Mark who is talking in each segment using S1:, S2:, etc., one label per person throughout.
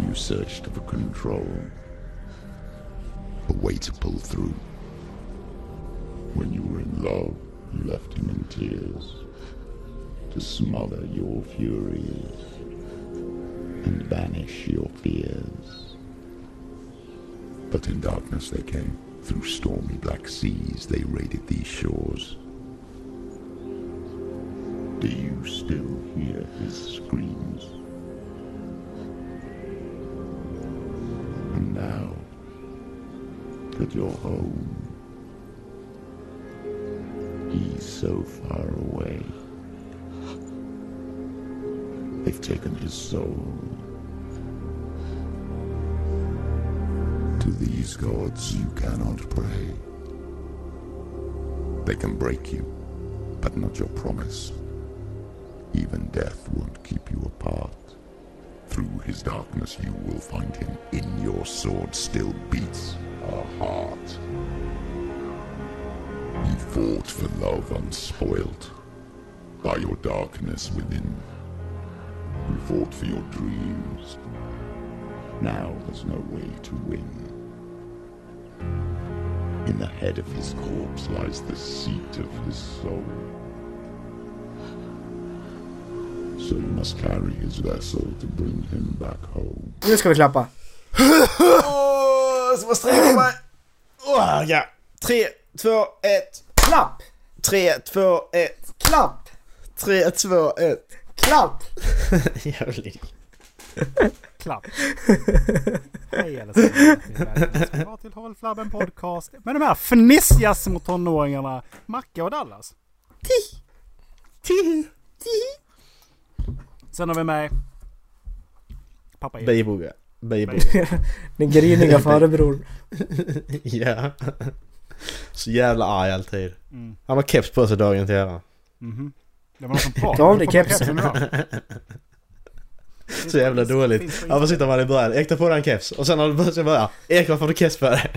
S1: You searched for control. A way to pull through. When you were in love, you left him in tears. To smother your furies. And banish your fears. But in darkness they came. Through stormy black seas they raided these shores. Do you still hear his screams? And now that you're home, he's so far away. They've taken his soul. To these gods you cannot pray. They can break you, but not your promise. Even death won't keep you apart. Through his darkness you will find him. In your sword still beats a heart. You fought for love unspoilt. By your darkness within. You fought for your dreams. Now there's no way to win. In the head of his corpse lies the seat of his soul. So you must carry his vessel to bring him back home.
S2: Nu ska vi klappa.
S3: Åh, så vad sträcker mig. Åh, ja. Tre, två, ett.
S2: Klapp!
S3: Tre, två, ett.
S2: Klapp!
S3: Tre, två, ett.
S2: Klapp!
S3: Jävligt.
S4: Klapp. Hej allesammans. Det var till Håll Flabben Podcast med de här fnissiga små tonåringarna Macke och Dallas. Sen har vi med pappa Erik.
S3: Beiboga. Beiboga.
S2: Den griniga farbrorn.
S3: Ja. Så jävla arg alltid. Han var keps på sig dagen till ära.
S4: Mhm. Det var någon som pratade.
S2: Ta av dig
S4: Det kom
S2: kepsen.
S4: idag.
S3: Så jävla dåligt.
S4: Finns på
S3: Ja, vad sitter man i början? Erik tar på dig en keps. Och sen har du börjat bara Erik varför har du keps på dig?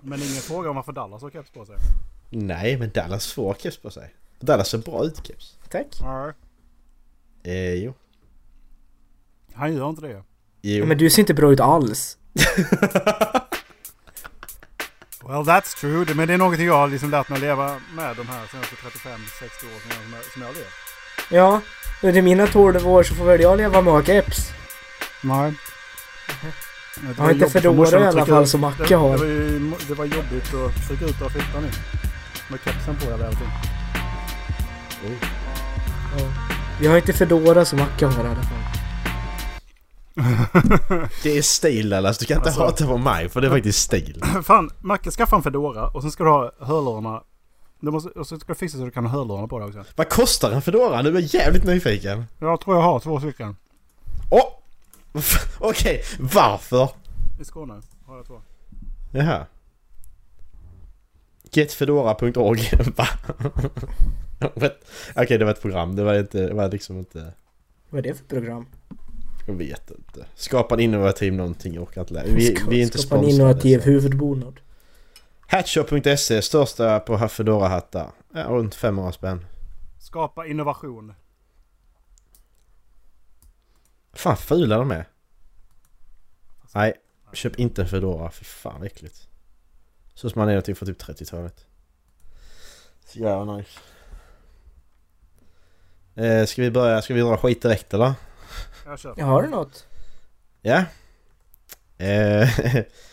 S4: Men ingen fråga om varför Dallas har keps på sig.
S3: Nej, men Dallas får keps på sig. Dallas ser bra ut i keps.
S2: Tack.
S4: Ja.
S3: Eh, jo.
S4: Han gör inte det.
S3: Jo.
S2: Men du ser inte bra ut alls.
S4: Well that's true. Det- Men det är någonting jag har liksom lärt mig att leva med de här senaste 35-60 åren som jag- som jag, som jag har levt.
S2: Ja, under mina 12 år så får väl jag leva med E att ha keps.
S4: Nej. Det var
S2: inte
S4: jobbigt
S2: för dåre
S4: morsan att
S2: i alla
S4: trycka
S2: fall
S4: ut-
S2: som Macke
S4: det,
S2: har.
S4: Det var, ju, mo- det var jobbigt att trycka ut och flytta nu. Med kepsen på eller allting.
S2: Vi har inte Fedora som Macke har i alla fall.
S3: Det är stil Dallas. Du kan inte
S4: Alltså.
S3: hata på mig för det är faktiskt stil.
S4: Fan, Macke skaffa en Fedora och sen ska du ha hörlurarna. Du måste, och så ska du fixa så du kan ha hörlurarna på dig också.
S3: Vad kostar en Foodora? Nu är jag jävligt nyfiken.
S4: Jag tror jag har två stycken.
S3: Åh! Okej, varför?
S4: I Skåne har jag två.
S3: Jaha. Getfedora.org va? What? Okej det var ett program, det var inte, det var liksom inte,
S2: Vad är det för program?
S3: jag vet inte. Skapa en innovativ någonting, jag orkar inte lära. Vi,
S2: Ska-
S3: vi är inte
S2: skapa en innovativ
S3: sponsrade.
S2: huvudbonad.
S3: Hatshop.se, E, största på Fedora-hattar. Ja, runt 500 spänn.
S4: Skapa innovation.
S3: Fan fula de är. Nej, köp inte en Fedora, fy fan vad äckligt. Så som man är någonting från typ 30-talet. Så jävla nice. Eh, ska vi börja, ska vi dra skit direkt eller?
S4: Jag köper.
S2: Har du något?
S3: Ja. Eh,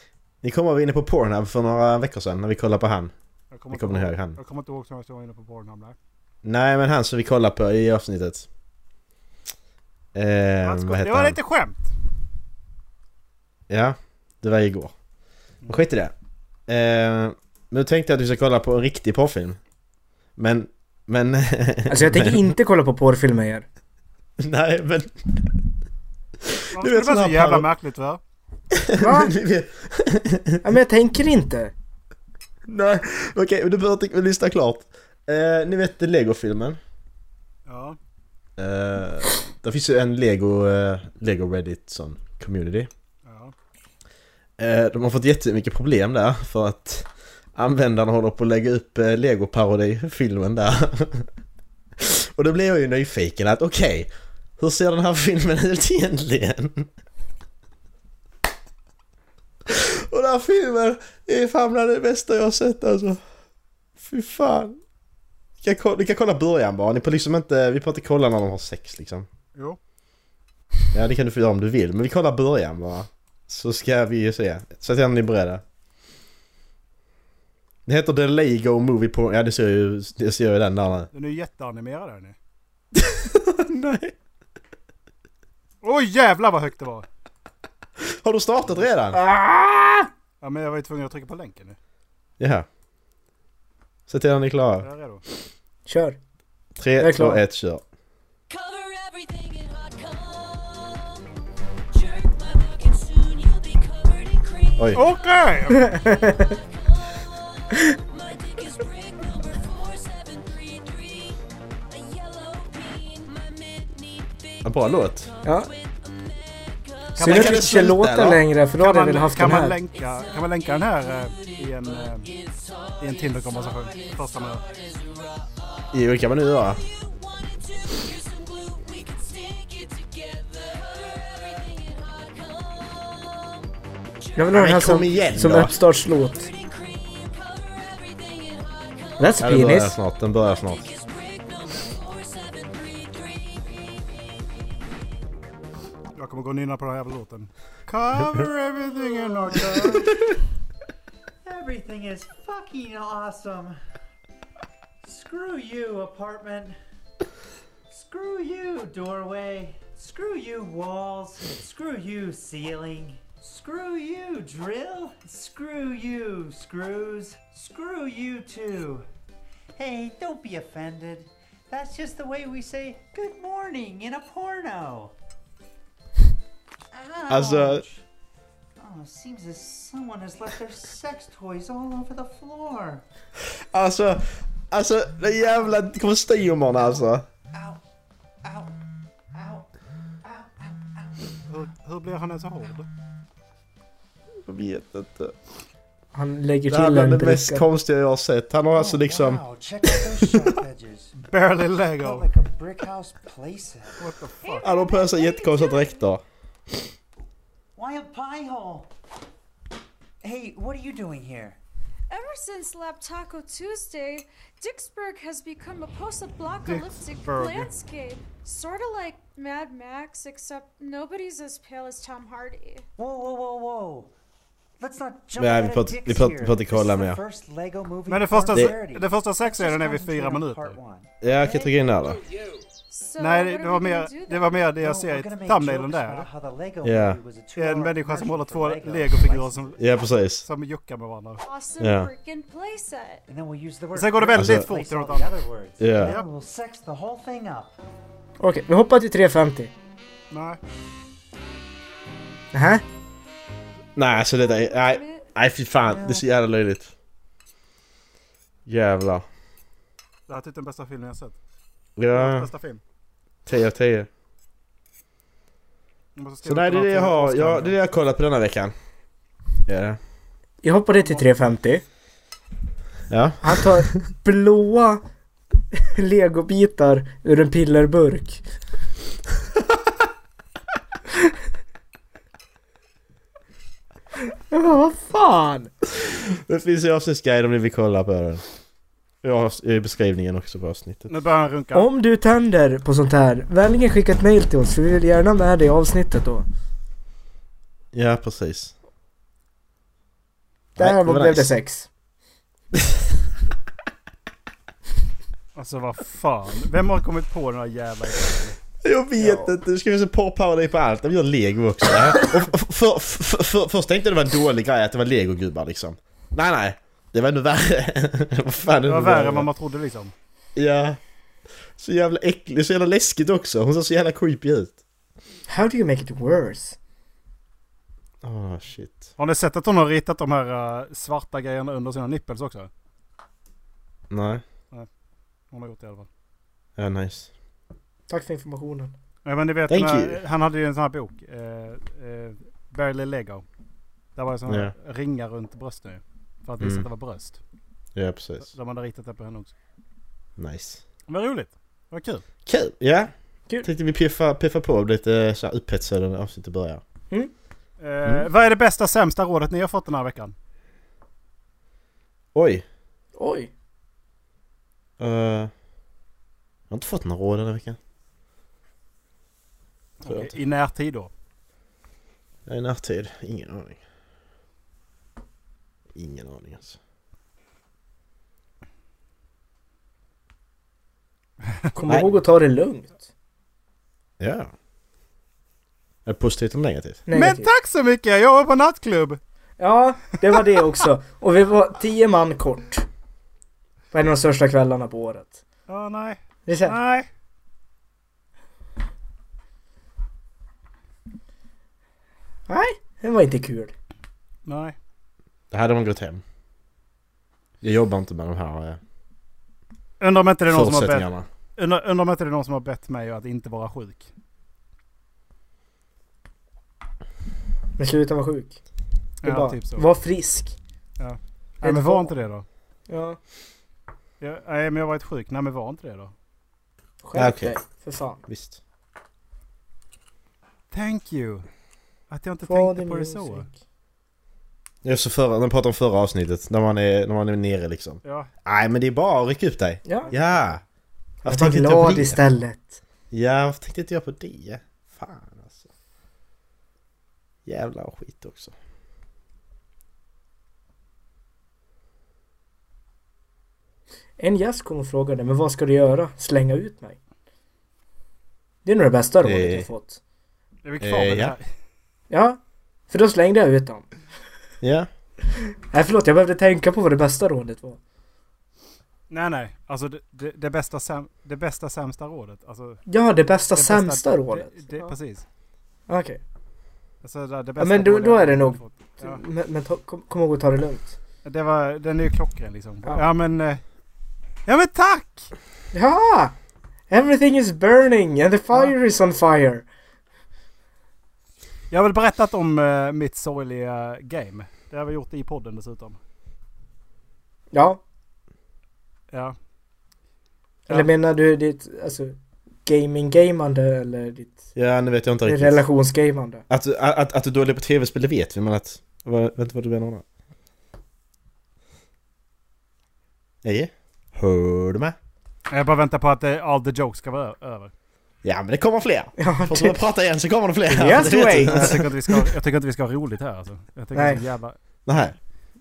S3: ni kommer vara inne på Pornhub för några veckor sedan när vi kollade på han.
S4: Jag
S3: Ni
S4: inte
S3: kommer ni
S4: ihåg-
S3: ihåg han?
S4: Jag kommer inte ihåg som jag stod inne på Pornhub där.
S3: Nej men han som vi kollade på i avsnittet. Eh,
S4: Alltså,
S3: vad
S4: det
S3: heter
S4: var
S3: han?
S4: lite skämt.
S3: Ja, det var
S2: Mm.
S3: igår. Men skit i det. Eh, nu tänkte jag att vi ska kolla på en riktig porrfilm. Men, men...
S2: Alltså jag tänker inte kolla på porrfilmer er.
S3: Nej men...
S4: Varför
S3: Du
S4: ska
S3: vet,
S4: det vara
S3: sån
S4: så
S3: här
S4: jävla
S3: paro-
S4: märkligt va?
S2: Va? Ja, men jag tänker inte.
S3: Nej, okej men du behöver inte lyssna klart. Eh, ni vet Lego-filmen?
S4: Ja.
S3: Eh, det finns ju en Lego, eh, Lego Reddit sån community.
S4: ja.
S3: Eh, de har fått jättemycket problem där för att användarna håller på att lägga upp eh, Lego-parodi-filmen där. Och då blir jag ju nyfiken att okej, Hur ser den här filmen ut egentligen? Och den här filmen är fan bland det bästa jag har sett alltså. Fy fan. Ni kan, ko- ni kan kolla början bara, ni får liksom inte, vi får inte kolla när de har sex liksom.
S4: Jo.
S3: Ja det kan du få göra om du vill, men vi kollar början bara. Så ska vi ju se, så att jag är beredda. Det heter The Lego Movie Porn, ja det ser ju, det ser ju den där nu.
S4: Den är ju jätteanimerad här nu.
S3: Nej.
S4: Oj jävlar vad högt det var!
S3: Har du startat redan?
S4: Ja men jag var ju tvungen att trycka på länken nu.
S3: Jaha. Se till när ni är
S4: Är
S3: klara.
S4: jag redo?
S2: Kör. Jag är
S3: 3, 2,
S2: klar.
S3: 1, kör.
S5: Cover everything in hot cum. Jerk my back and soon you'll be covered in cream.
S3: Oj.
S4: Okej!
S5: My dick is brick number 4733. A yellow bean. My mid-knee big
S3: En bra låt.
S2: Ja.
S4: man-
S2: Synd att
S3: kan
S2: vi
S3: det
S2: inte kör
S3: sluta,
S2: låten
S3: eller?
S2: längre för då
S4: Kan
S2: hade jag
S4: man,
S2: väl haft
S4: kan,
S2: den
S4: man
S2: här.
S4: länka, kan man länka den här eh, i en, eh, i en Tinder-konversation? Första med
S3: Jo det kan man nu göra.
S5: you wanted to. Here's some glue. We can stick it together. Cover everything in hot cum.
S2: Jag vill ha den här
S3: Men kom
S2: som,
S3: igen
S2: som
S3: då.
S2: uppstartslåt.
S5: Covered in cream. Cover everything in hot cum.
S2: That's
S3: Ja, den börjar
S2: penis.
S3: snart, den börjar snart.
S5: Dick is brick number 4733.
S4: Jag kommer gå och nynna på den här jävla låten. Cover everything in our girl.
S6: Everything is fucking awesome. Screw you, apartment. Screw you, doorway. Screw you, walls. Screw you, ceiling. Screw you, drill. Screw you, screws. Screw you, too. Hey, don't be offended. That's just the way we say good morning in a porno.
S3: As a-
S6: Ouch. Oh, it seems as someone has left their sex toys all over the floor.
S3: Alltså, alltså den jävla kostymerna alltså.
S6: Ow, ow, ow, ow, ow, ow.
S4: Hur, hur blir han ens så hård?
S3: Jag vet inte.
S2: Han lägger
S3: Det här är
S2: till
S3: bland
S2: en
S3: det mest
S2: bricka.
S3: konstiga jag har sett. Han har alltså liksom...
S6: Wow, check out those sharp edges.
S4: Barely Lego.
S6: Felt like a brick house playset.
S4: What the fuck?
S3: Han har på sig jättekonstiga dräkter.
S6: Why a pie hole? Hey, what are you doing here?
S7: Ever since Lab Taco Tuesday, Dixburg has become a post-apocalyptic
S4: Dixburg.
S7: landscape. Sort of like Mad Max, except nobody's as pale as Tom Hardy.
S6: Whoa, whoa, whoa, whoa. Let's not jump
S3: Nej,
S6: out
S3: vi
S6: of
S3: får inte-
S6: dicks
S3: vi får-
S6: here.
S3: vi får inte kolla
S6: This is
S3: mer.
S6: the first Lego movie
S4: Men det första,
S6: porn
S4: se-
S6: parody.
S4: det första sexscenen är vid
S6: Just
S4: fyra
S6: concentrate on
S4: minuter.
S6: part one.
S3: Ja, jag kan trycka in det här då.
S7: So
S4: Nej,
S7: what
S4: det, det,
S7: are we
S4: var
S7: gonna
S4: mer,
S7: do
S4: det
S7: then?
S4: var mer det jag
S6: No,
S4: ser
S6: we're
S4: i
S6: gonna make
S4: thumbnailen
S6: jokes about
S4: där.
S6: how the Lego
S3: Yeah.
S6: movie was a two-hour
S4: En människa som
S6: commercial
S4: håller
S6: for
S4: två
S6: Lego.
S4: legofigurer som,
S3: Ja, precis.
S4: som juckar med varandra.
S7: Awesome
S3: Yeah.
S7: freaking playset.
S6: And then we'll use the word.
S4: Sen går det väldigt
S3: Alltså-
S4: fort till något
S6: Place all the
S4: annat.
S6: other words.
S3: Ja.
S6: Then we'll sex the whole thing up.
S2: Okej, vi hoppar till 3.50.
S4: Nej.
S2: Nähä?
S3: Nej, alltså det där är... Nej, nej fy fan. Det är så jävla löjligt. Jävlar.
S4: Det här är typ den bästa filmen jag sett.
S3: Ja,
S4: Bästa film.
S3: 10 av 10.
S4: Jag måste skriva
S3: Så nej,
S4: upp
S3: det är
S4: den
S3: det
S4: här
S3: jag har.
S4: till
S3: Ja,
S4: Oscar.
S3: det är det jag har kollat på denna veckan. Ja.
S2: Jag hoppade till 3.50.
S3: Ja.
S2: Han tar blåa legobitar ur en pillerburk. Jag bara, vad fan?
S3: Det finns ju avsnittsguide om ni vill kolla på den. Jag har i beskrivningen också på avsnittet.
S4: Nu börjar han runka.
S2: Om du tänder på sånt här, vänligen skicka ett mail till oss för vi vill gärna med dig i avsnittet då.
S3: Ja, precis. Nej,
S2: Där
S3: det
S2: var
S3: var
S2: blev
S3: nice.
S2: det sex.
S4: Alltså vad fan. Vem har kommit på den här jävla idén?
S3: Jag vet inte, nu ska vi se porrparodi på allt. Vi gör lego också. Ja. Och f- för, för, för, först tänkte jag det var en dålig grej att det var legogubbar liksom. Nej nej, det var ännu värre. Vad fan,
S4: Det var värre än vad man trodde liksom.
S3: Ja. Så jävla äckligt, så jävla läskigt också. Hon ser så jävla creepy ut.
S2: How do you make it worse?
S3: Åh Ah, shit.
S4: Har ni sett att hon har ritat de här eh, svarta grejerna under sina nipples också?
S3: Nej.
S4: Hon har gjort det i alla fall.
S3: Ja nice.
S2: Tack för informationen.
S4: Nej men ni vet,
S3: Thank
S4: den här,
S3: you.
S4: han hade ju en sån här bok. Eh, eh, Barely Lego. Där var det såna
S3: Ja.
S4: ringar runt brösten ju. För att visa
S3: Mm.
S4: att det var bröst.
S3: Ja precis.
S4: Så De hade ritat det på henne också.
S3: Nice.
S4: Vad roligt. Vad kul.
S3: Kul! Ja.
S2: Kul.
S3: Tänkte vi piffa, piffa på och bli lite eh, så här upphetsade när avsnittet börjar.
S4: Eh,
S3: Mm.
S4: Vad är det bästa sämsta rådet ni har fått den här veckan?
S3: Oj!
S2: Oj.
S3: eh, jag har inte fått några råd den här veckan. Tror jag
S4: Okej,
S3: inte.
S4: I närtid då?
S3: Jag är i närtid. Ingen aning. Ingen aning alltså.
S2: Kom
S3: Nej.
S2: ihåg att ta det lugnt.
S3: Ja. Är det positivt eller negativt?
S4: Men
S2: Negativt.
S4: tack så mycket! Jag var på nattklubb!
S2: Ja, det var det också. Och vi var tio man kort. På en av de största kvällarna på året.
S4: Ja, nej.
S2: Det är så här.
S4: Nej.
S2: Nej, det var inte kul.
S4: Nej.
S3: Det hade man gått hem. Jag jobbar inte med de här eh,
S4: Undrar om inte det är någon som har bett,
S3: förutsättningarna.
S4: undrar, undrar om inte det är någon som har bett mig att inte vara sjuk.
S2: Men sluta vara sjuk. Det är
S4: Ja,
S2: bara,
S4: typ så.
S2: Var frisk.
S4: Nej, men var inte det då.
S2: Ja,
S4: Ja, nej, men jag har varit sjuk. Nej, men var inte det då.
S2: skärp
S3: Okej.
S2: dig. För fan.
S3: Visst.
S4: Thank you. Att jag inte
S2: Var
S4: tänkte på det så.
S2: musik.
S3: Jag så förra, när jag pratade om förra avsnittet, när man är, när man är nere liksom.
S4: Ja,
S3: Nej men det är bara att rycka upp dig.
S2: Ja.
S3: Ja!
S2: Jag
S3: Varför
S2: var
S3: tänkte inte jag på
S2: glad
S3: det?
S2: istället.
S3: Ja, varför tänkte inte jag på det? Fan alltså. Jävla skit också.
S2: En gäst kom och frågade, men vad ska du göra? Slänga ut mig? Det är nog det bästa rådet
S3: Eh.
S2: jag fått.
S4: är vi kvar med
S3: Eh,
S4: det
S3: ja.
S4: här?
S2: Ja, för då slängde jag ut dem.
S3: Ja.
S2: Nej förlåt, jag behövde tänka på vad det bästa rådet var.
S4: Nej, nej. Alltså det, det, det, bästa, säm, det bästa sämsta rådet. Alltså, det
S2: Ja, det bästa
S4: bästa-
S2: sämsta rådet.
S4: Det, det, Precis.
S2: Okej.
S4: Alltså, det, det bästa
S2: Ja, men då-
S4: rådet
S2: då är
S4: jag
S2: det nog-
S4: fått. Ja.
S2: Men, men ta, kom, kom ihåg att ta det lugnt.
S4: Det var, den är ju klockren liksom. Ja,
S2: Ja.
S4: men... eh, Ja men tack!
S2: Ja! Everything is burning and the fire is on fire.
S4: Jag har väl berättat om eh, mitt sorgliga game. Det har vi gjort i podden dessutom.
S2: Ja,
S4: Ja. Ja.
S2: eller menar du ditt alltså, gaming-gamande eller ditt
S3: Ja, nu vet jag inte riktigt.
S2: relationsgamande?
S3: Att, du- att, att, att du är dålig på tv-spel, det vet vi men att... Vad, vet du vad du menar då? Nej? Hör du mig?
S4: Jag bara väntar på att eh, all the jokes ska vara ö- över.
S3: Ja men det kommer fler!
S2: Ja,
S3: Får
S2: det,
S3: du prata igen så kommer det fler!
S2: Yes,
S3: Det vet
S2: wait.
S3: du.
S4: Jag tycker inte vi ska, jag tycker inte vi ska ha roligt här alltså. Jag tycker
S2: Nej.
S4: det är så jävla...
S3: Nej.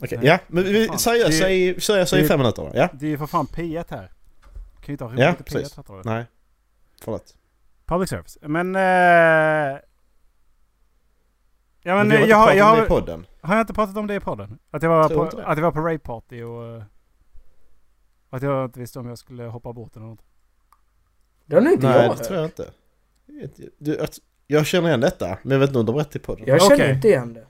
S3: Okej,
S4: Nej.
S3: ja. Men vi,
S4: Fan.
S3: seriöst,
S4: Det-
S3: säg, säg, säg
S4: det-
S3: fem minuter då. Ja.
S4: Det är ju för fan P1 här. Kan ju inte ha roligt
S3: Ja,
S4: i P1
S3: precis.
S4: här, tror jag.
S3: Nej. Förlåt.
S4: Public service. Men... Eh... Ja men,
S3: vi har
S4: eh,
S3: inte
S4: jag,
S3: pratat om det
S4: har- jag
S3: i
S4: har...
S3: podden.
S4: Har jag inte pratat om det i podden? Att jag var
S3: Tror inte
S4: på,
S3: det.
S4: att jag var på rave party och... eh, Att jag inte visste om jag skulle hoppa bort eller något.
S2: det har nog inte
S3: Nej,
S2: jag
S3: det
S2: hört.
S3: tror jag inte. Du, att, jag känner igen detta, men jag vet inte om du har berättat i podden.
S2: Jag känner
S4: Okej.
S2: inte igen det.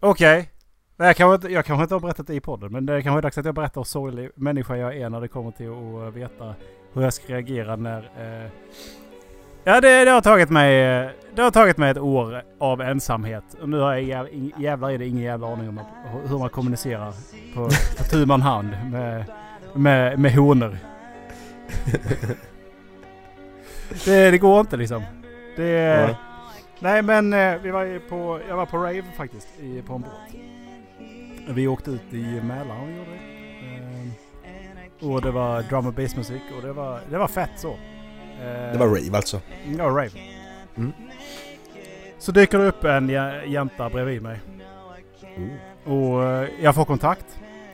S4: Okej. Nej, jag, kanske inte- jag kanske inte har berättat det i podden, men det är kanske är dags att jag berättar hur sorglig människa jag är när det kommer till att eh, veta hur jag ska reagera när... Eh... Ja, det, det, har tagit mig, eh, det har tagit mig ett år av ensamhet. Och nu har jag jäv, ing- jävlar är det ingen jävla aning om hur- hur man kommunicerar på, på tu man hand med, med, med honor. det, det går inte liksom. Det,
S3: Nej.
S4: Nej men eh, vi var ju på, jag var på rave faktiskt i, på en båt. Vi åkte ut i Mälaren och gjorde det. Ehm, och det var drum and bass musik och det var, det var fett så. Ehm,
S3: Det var rave alltså.
S4: Ja, rave.
S3: Mm.
S4: Så dyker det upp en jä- jänta bredvid mig.
S3: Mm.
S4: Och eh, jag får kontakt.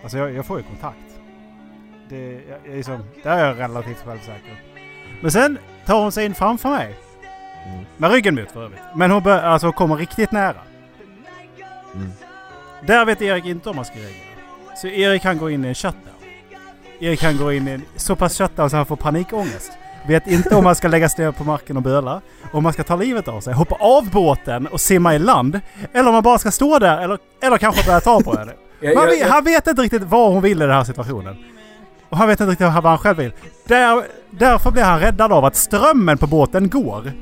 S4: Alltså jag, jag får ju kontakt. Det, jag, jag är liksom, där är jag relativt självsäker. Men sen tar hon sig in framför mig.
S3: Mm.
S4: Med ryggen mot för övrigt. Men hon bör, alltså, kommer riktigt nära.
S3: Mm.
S4: Där vet Erik inte om han ska reagera. Så Erik han går in i en shutdown. Erik han går in i en så pass shutdown så han får panikångest. Vet inte om han ska läggas ner på marken och böla. Om han ska ta livet av sig, hoppa av båten och simma i land. Eller om han bara ska stå där eller, eller kanske börja ta på henne.
S2: Jag,
S4: Man,
S2: jag,
S4: vet-
S2: jag,
S4: han vet inte riktigt vad hon vill i den här situationen. Och han vet inte riktigt vad han själv vill. Där, därför blir han räddad av att strömmen på båten går.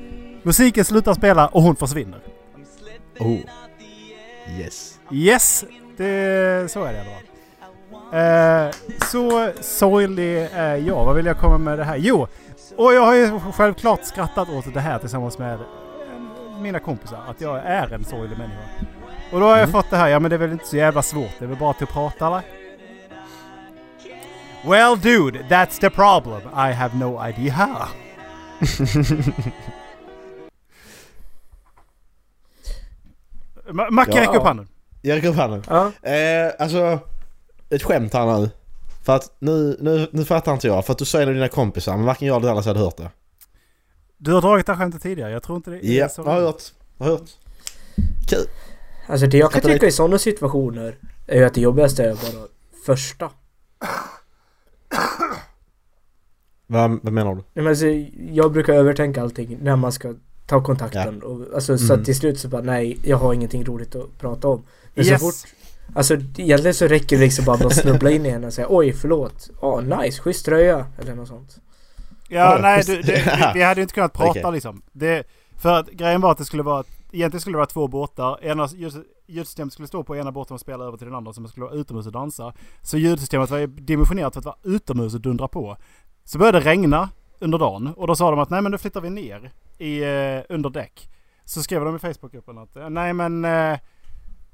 S4: Musiken slutar spela och hon försvinner.
S3: Oh. Yes.
S4: Yes! Det, så är det i alla fall. Eh, så sorglig är jag. Vad vill jag komma med det här? Jo, Och jag har ju självklart skrattat åt det här tillsammans med eh, mina kompisar. Att jag är en sorglig människa. Och då har jag fått det här, ja men det är väl inte så jävla svårt. Det är väl bara till att prata eller? Well dude, that's the problem. I have no idea how. Ma- Macke
S3: Ja.
S4: räck upp handen.
S3: Jag räcker upp handen.
S2: Ja.
S3: Eh, alltså, ett skämt här nu. För att nu, nu, nu fattar inte jag. För att du säger det till dina kompisar, men varken jag eller Dallas hade hört det.
S4: Du har dragit det här skämtet tidigare. Jag tror inte det är
S3: Ja,
S4: så
S3: jag har hört. Jag har hört. Kul.
S2: Alltså det jag kan
S3: Katarina-
S2: tycka i sådana situationer är ju att det jobbigaste är bara första.
S3: Vad, vad menar du?
S2: Nej, men Alltså, jag brukar övertänka allting när man ska ta kontakten. Och, alltså, Så
S3: Mm.
S2: att till slut så bara nej, jag har ingenting roligt att prata om. Men
S4: Yes.
S2: så fort, alltså egentligen så räcker det liksom bara att någon snubblar in i henne och säger oj förlåt, ja nice, schysst tröja eller något sånt.
S4: Ja,
S3: Ja,
S4: nej,
S3: just
S4: du,
S3: det.
S4: du, vi- vi hade ju inte kunnat prata
S3: Okej.
S4: liksom. Det, för att grejen var att det skulle vara, egentligen skulle det vara två båtar. Ena, ljud- ljudsystemet skulle stå på ena båten och spela över till den andra som skulle vara utomhus och dansa. Så ljudsystemet var ju dimensionerat för att vara utomhus och dundra på. Så började det regna under dagen och då sa de att nej men då flyttar vi ner i, eh, under däck. Så skrev de i Facebookgruppen att eh, nej men eh,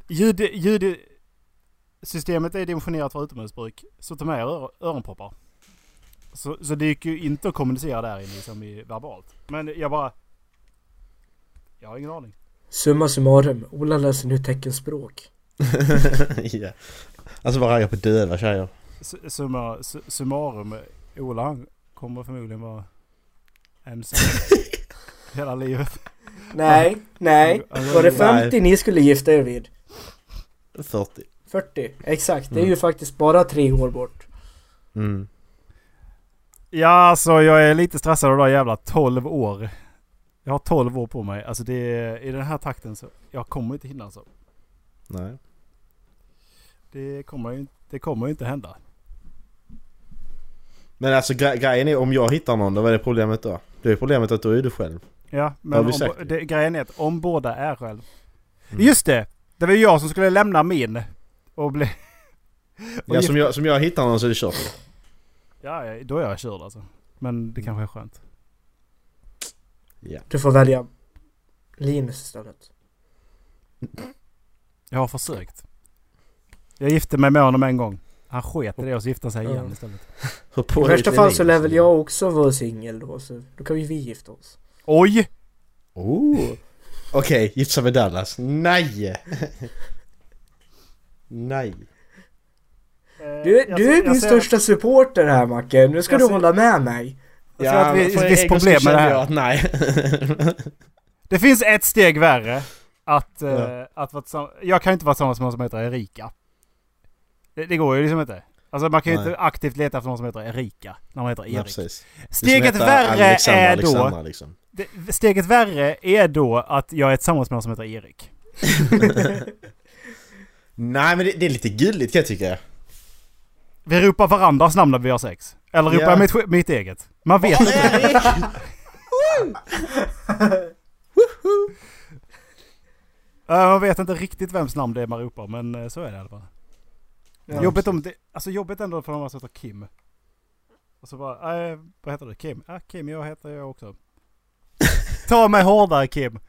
S4: ljud, ljudsystemet är dimensionerat för utomhusbruk. Så ta med er öron- öronproppar. Så, så det gick ju inte att kommunicera där inne liksom i verbalt. Men jag bara... Jag har ingen aning.
S2: Summa summarum, Ola läser nu teckenspråk.
S3: ja. Alltså bara raggar på döva tjejer.
S4: S- Summa, s- summarum. Ola han kommer förmodligen vara ensam hela livet.
S2: Nej, nej. Var det
S3: alltså, Nej.
S2: 50 ni skulle gifta er vid?
S3: 40.
S2: 40, exakt. Det är ju faktiskt bara tre år bort.
S3: Mm.
S4: Ja alltså jag är lite stressad av de där jävla 12 år. Jag har 12 år på mig. Alltså det är i den här takten så. Jag kommer inte hinna alltså.
S3: Nej.
S4: Det kommer ju det kommer ju inte hända.
S3: Men alltså gre- grejen är om jag hittar någon, då vad är det problemet då? Då är problemet att då är du själv.
S4: Ja, men
S3: Har vi
S4: om,
S3: sagt Mm.
S4: bo- det, grejen är att om båda är själv. Just det! Det var ju jag som skulle lämna min. Och bli...
S3: Ja, som, jag, som jag hittar någon så är det kört.
S4: Ja, ja, då är jag körd alltså. Men det kanske är skönt.
S2: Du får välja Linus istället.
S4: Jag har försökt. Jag gifte mig med honom en gång. Han sket i det och så gifte han sig
S2: Ja.
S4: igen istället.
S3: Hur på
S2: I värsta
S3: är
S2: fall
S3: det
S2: så lär
S3: livet?
S2: väl jag också vara singel då, så då kan ju vi gifta oss.
S4: Oj!
S3: Oh. Okej, gifta sig med Dallas. Nej! Nej.
S2: Du, du är min största supporter här Macke, nu ska
S4: Jag
S2: du
S4: ser-
S2: hålla med mig.
S4: Jag tror att vi-
S3: men för
S4: det
S3: en
S4: finns
S3: egen skull
S4: problem med
S3: kände
S4: det här.
S3: jag Att, nej.
S4: Det finns ett steg värre. Att, eh,
S3: Ja.
S4: att vara tillsammans... Jag kan ju inte vara tillsammans med någon som heter Erika. Det, det går ju liksom inte. Alltså man kan ju
S3: Nej.
S4: inte aktivt leta efter någon som heter Erika. När man heter
S3: nej,
S4: Erik.
S3: precis. Det är som
S4: Steget
S3: heter
S4: värre
S3: Alexandra,
S4: är då...
S3: Alexandra, liksom.
S4: Det, steget värre är då att jag är tillsammans med någon som heter Erik.
S3: Nej men det, det är lite gulligt kan jag tycka.
S4: Vi ropar varandras namn när vi har sex. Eller ropar
S3: Ja.
S4: jag mitt, mitt eget. Man vet inte. Eh, Man vet inte riktigt vems namn det är man ropar, men eh, så är det i alla fall.
S2: Ja.
S4: jobbigt, om det, alltså jobbigt ändå för någon som heter Kim. Och så bara, eh, vad heter du? Kim? Ah, Kim, jag heter jag också. Ta mig hårdare Kim!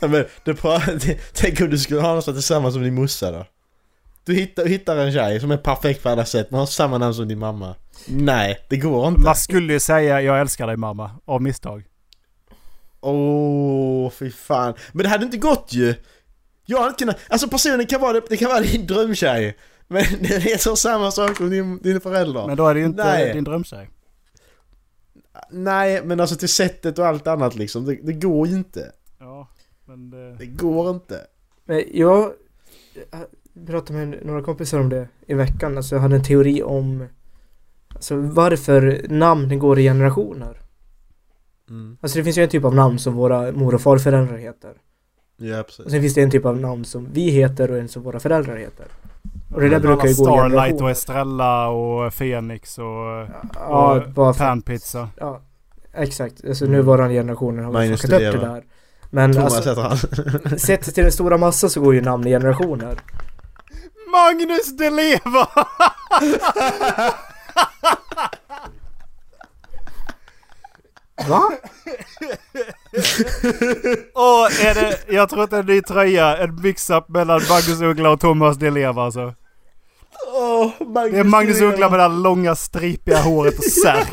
S3: Ja, men det pra- t- Tänk om du skulle ha någon som är tillsammans som din morsa då? Du hittar, hittar en tjej som är perfekt på alla sätt, men har samma namn som din mamma. Nej, det går inte.
S4: Man skulle ju säga jag älskar dig mamma, av misstag.
S3: Åh, oh, fy fan. Men det hade inte gått ju! Jag hade inte kunnat... Alltså personen kan vara, det kan vara din drömtjej. Men den heter samma sak som din, dina föräldrar.
S4: Men då är det ju inte
S3: Nej.
S4: din drömtjej.
S3: Nej, men alltså till sättet och allt annat liksom. Det, det går ju inte.
S4: Ja, men det...
S3: Det går inte.
S2: Men jag pratade med några kompisar om det i veckan, alltså jag hade en teori om alltså, varför namn går i generationer.
S3: Mm.
S2: Alltså det finns ju en typ av namn som våra mor och farföräldrar heter.
S3: Ja, precis.
S2: Och sen finns det en typ av namn som vi heter och en som våra föräldrar heter. Och det där
S4: Alla
S2: brukar ju gå i
S4: Starlight och
S2: generationer.
S4: Estrella och Phoenix och...
S2: Ja,
S4: och
S2: bara för,
S4: Panpizza.
S2: ja, exakt. Alltså nuvarande generationer har väl
S3: Magnus
S2: fuckat upp det
S3: studerar.
S2: där. Men
S3: Thomas
S2: alltså,
S3: heter han.
S2: sett till den stora massan så går ju namn i generationer.
S4: Magnus de Leva!
S2: Va?
S4: Åh, är det... Jag tror att det är en ny tröja. En mix-up mellan Magnus Uggla och Thomas Di Leva alltså.
S3: Åh, Magnus
S4: Det är Magnus
S3: Uggla.
S4: Uggla med det här långa stripiga håret och särk.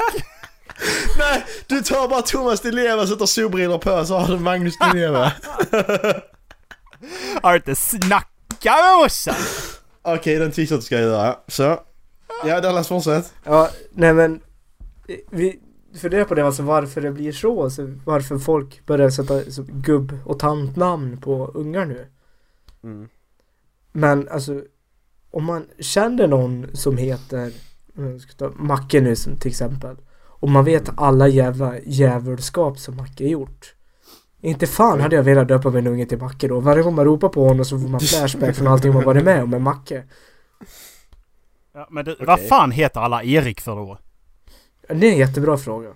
S3: Nej, du tar bara Thomas Di Leva, sätter solbrillor på så har du Magnus Di Leva.
S4: Har du inte snackat med morsan?
S3: Okej, den t-shirt ska jag göra. Så. Ja, Dallas fortsätt.
S2: Ja, nej men. eh, Vi funderar på det alltså varför det blir så. Alltså, varför folk börjar sätta så, gubb och tantnamn på ungar nu.
S3: Mm.
S2: Men alltså. Om man känner någon som heter. om jag ska ta Macke nu som till exempel. Och man vet alla jävla djävulskap som Macke gjort. Inte fan hade jag velat döpa min unge till Macke då. Varje gång man ropar på honom så får man flashback från allting man varit med om med Macke.
S4: Ja, men du, vad fan heter alla Erik för då?
S2: Det är en jättebra fråga.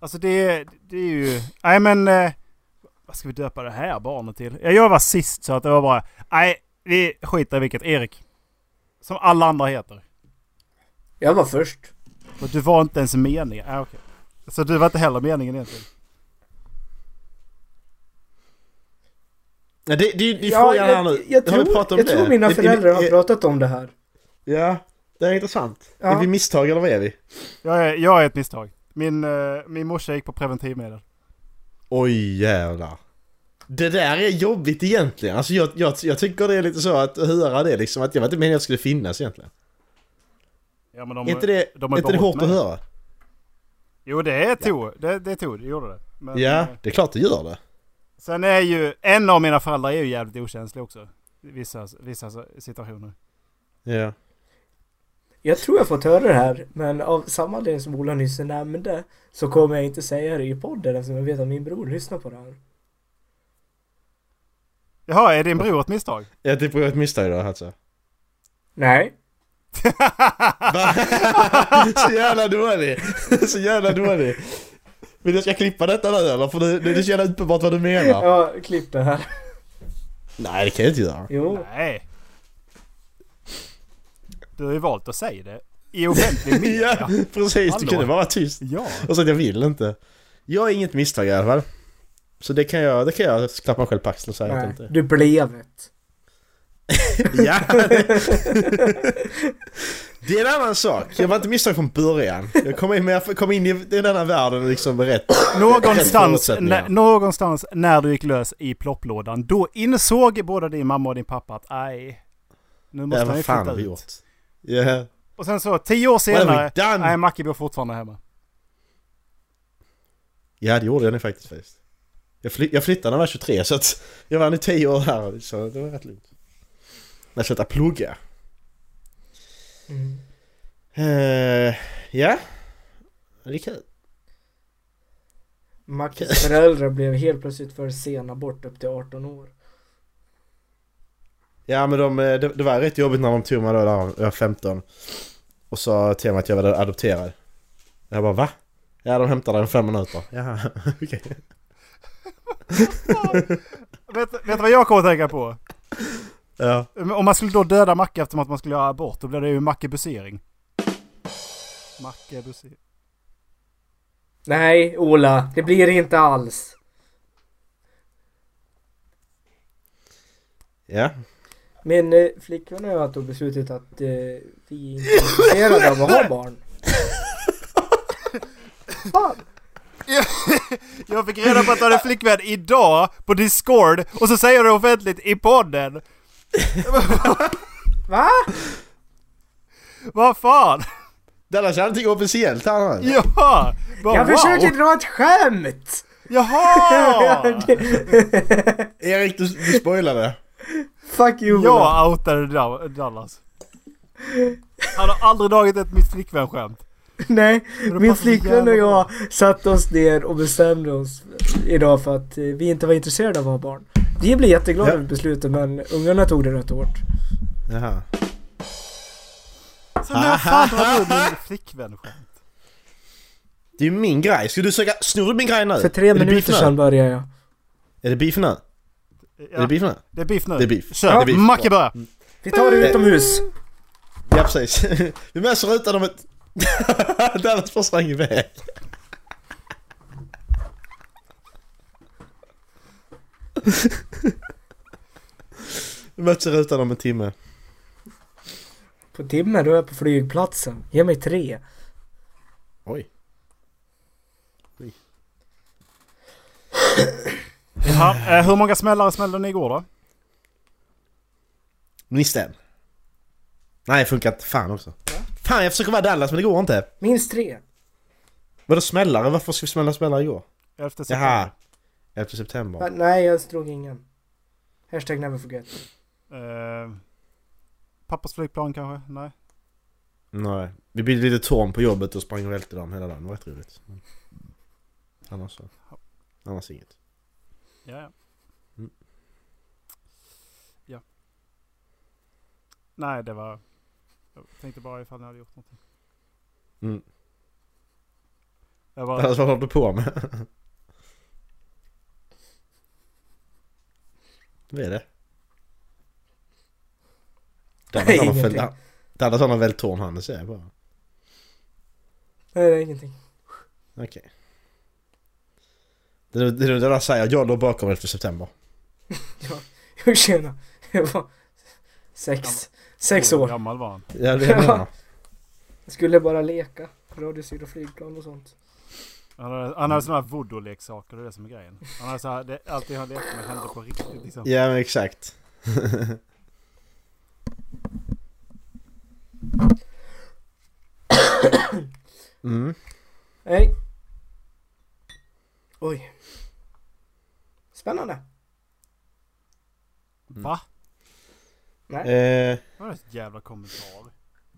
S4: Alltså det, det är ju... Nej men... Eh, vad ska vi döpa det här barnet till? Ja, Jag var sist så att det var bara... Nej, vi skiter i vilket. Erik. Som alla andra heter.
S2: Jag var först.
S4: Och du var inte ens meningen. Ah, okej. Så du var inte heller meningen egentligen.
S3: Ja, det, det, det är frågan här nu.
S2: jag
S3: har
S2: tror,
S3: vi pratat om
S2: jag
S3: det?
S2: tror mina
S3: Är- är-
S2: föräldrar har
S3: är-
S2: pratat om det här.
S3: Ja, det är intressant.
S2: Ja.
S3: Är vi misstag eller vad är vi?
S4: Jag är, jag är ett misstag. Min, eh, min morsa gick på preventivmedel.
S3: Oj jävlar. Det där är jobbigt egentligen. Alltså jag, jag, jag tycker det är lite så att höra det liksom. Att jag vet inte meningen att jag skulle finnas egentligen.
S4: Ja, men de,
S3: är inte det,
S4: de
S3: är inte det
S4: bort
S3: hårt
S4: mig.
S3: att höra?
S4: Jo, det är to. Det, det är to. Det gjorde det. Men,
S3: Ja,
S4: eh,
S3: det är klart det gör det.
S4: Sen är ju... En av mina föräldrar är ju jävligt okänslig också. I Vissa, vissa situationer.
S3: Ja.
S2: Jag tror jag fått höra det här, men av samma anledning som Ola nyss nämnde så kommer jag inte säga det i podden eftersom jag vet att min bror lyssnar på det här.
S4: Jaha, är din bror ett misstag?
S3: Ja, det är ett misstag idag alltså.
S2: Nej.
S3: Va? så jävla dålig! så jävla dålig! Vill du att jag klippa detta nu eller? För det, det är så jävla uppenbart vad du menar.
S2: Ja, klipp det här.
S3: Nej, det kan jag inte göra.
S2: Jo.
S4: Nej. Du har ju valt att säga det. I offentlig
S3: ja,
S4: media.
S3: precis.
S4: Hallå.
S3: Du kunde bara vara tyst.
S4: ja.
S3: Och så att jag vill inte. Jag är inget misstag i alla fall. Så det kan jag, det kan jag klappa mig själv på axeln och säga att jag
S2: Nej,
S3: inte.
S2: du blev ett.
S3: Ja! det är en annan sak. Jag var inte misstag från början. Jag kom in, men jag kom in i den här världen liksom med rätt.
S4: Någonstans,
S3: förutsättningar.
S4: nä- någonstans när du gick lös i plopplådan, då insåg både din mamma och din pappa att nej, nu måste
S3: Ja,
S4: han ju
S3: vad
S4: flytta
S3: fan har vi
S4: ut.
S3: gjort? Ja.
S4: Och sen så, tio år
S3: What
S4: senare,
S3: have we done?
S4: nej Macke bor fortfarande hemma.
S3: Ja, det gjorde jag nu faktiskt. faktiskt. Jag, fly- jag flyttade när jag var 23 så att jag var nu 10 år här så det var rätt lugnt. När jag slutade plugga.
S2: Mm.
S3: Eh, ja, det är kul.
S2: Mackes föräldrar blev helt plötsligt för sena bort upp till 18 år.
S3: Ja men de, eh, det, det var rätt jobbigt när de tog mig då när jag var 15 Och sa till mig att jag var adopterad Jag bara va? Ja de hämtade den fem minuter Ja okej
S4: Vet, vet du vad jag kommer att tänka på?
S3: Ja
S4: Om man skulle då döda Macke eftersom att man skulle göra abort, då blir det ju Macke busering. Macke busering.
S2: Nej, Ola. Det blir det inte alls.
S3: Ja
S2: Min eh, flickvän och jag tog beslutet att eh, vi inte är intresserade av att ha barn. Fan.
S4: Jag fick reda på att du hade flickvän idag på Discord och så säger du offentligt i podden.
S2: Va?
S4: Vad fan?
S3: Dallas hade någonting officiellt här nu
S4: Ja! Bara,
S2: Jag
S4: wow.
S2: försöker dra ett skämt!
S4: Jaha!
S3: Erik du, du spoilade
S2: Fuck you Ola.
S4: Jag outade Dal- Dallas. Han har aldrig dragit ett mitt flickvän-skämt.
S2: Nej,
S4: det
S2: min
S4: passar så
S2: flickvän
S4: jävla
S2: och jag satte oss ner och bestämde oss idag för att eh, vi inte var intresserade av att ha barn. Vi blev jätteglada
S3: Ja.
S2: över beslutet men ungarna tog det rätt hårt.
S3: Jaha
S4: Så när fan drar du din flickvän-skämt?
S3: Det är ju min grej, ska du söka, snor du min grej nu?
S2: För tre
S3: Är det beef
S2: minuter
S3: nu?
S2: sedan började jag.
S3: Är det beef nu? Är
S4: Ja,
S3: det beef nu?
S4: det är beef nu.
S3: Det är beef.
S4: Kör!
S3: Det är Mm. beef.
S4: Macke börjar!
S2: Vi tar
S4: Eh.
S2: det utomhus.
S3: Ja precis Vi möts rutan om ett... Dallas bara sprang iväg Vi möts i rutan om en timme.
S2: På timmen då är jag på flygplatsen. Ge mig tre.
S3: Oj.
S4: Ja, eh, hur många smällare smällde ni igår då?
S3: Missade en. Nej, det funkar inte. Fan också. Fan, jag försöker vara Dallas men det går inte.
S2: Minst tre.
S3: Vadå smällare? Varför ska vi smälla smällare igår?
S4: 11 september.
S3: Jaha. 11 september.
S2: Va, nej, jag drog ingen. Hashtag never forget.
S4: Eh, pappas flygplan kanske? Nej.
S3: Nej, vi byggde lite torn på jobbet och sprang och välte dem hela dagen. Det var rätt roligt. Men Annars så. Annars inget.
S4: Ja, ja.
S3: Mm.
S4: Ja. Nej, det var... Jag tänkte bara ifall ni hade gjort någonting.
S3: Mm.
S4: Jag bara,
S3: Annars vad håller du på med? Vad är det?
S2: Nej,
S3: Dallas han har
S2: ingenting.
S3: fällt- Dallas han har vält torn han, det ser jag bara.
S2: Nej, det är ingenting.
S3: Okej. Det är det Dallas säger, jag låg bakom 11 september.
S2: Jag tjena. Jag var sex. Sex
S4: hur
S2: år.
S4: gammal var han?
S3: Ja, det är det jag menar.
S2: Jag skulle bara leka. Radiostyrda flygplan och sånt.
S4: Han hade, han hade sådana här voodoo-leksaker, det är det som är grejen. Han hade så här, det, allt det han lekte med hände på riktigt liksom.
S3: Ja, men exakt. mm.
S2: Nej. Oj. Spännande.
S4: Mm.
S3: Mm.
S4: Va?
S3: Eh,
S4: Vad är det för jävla kommentar?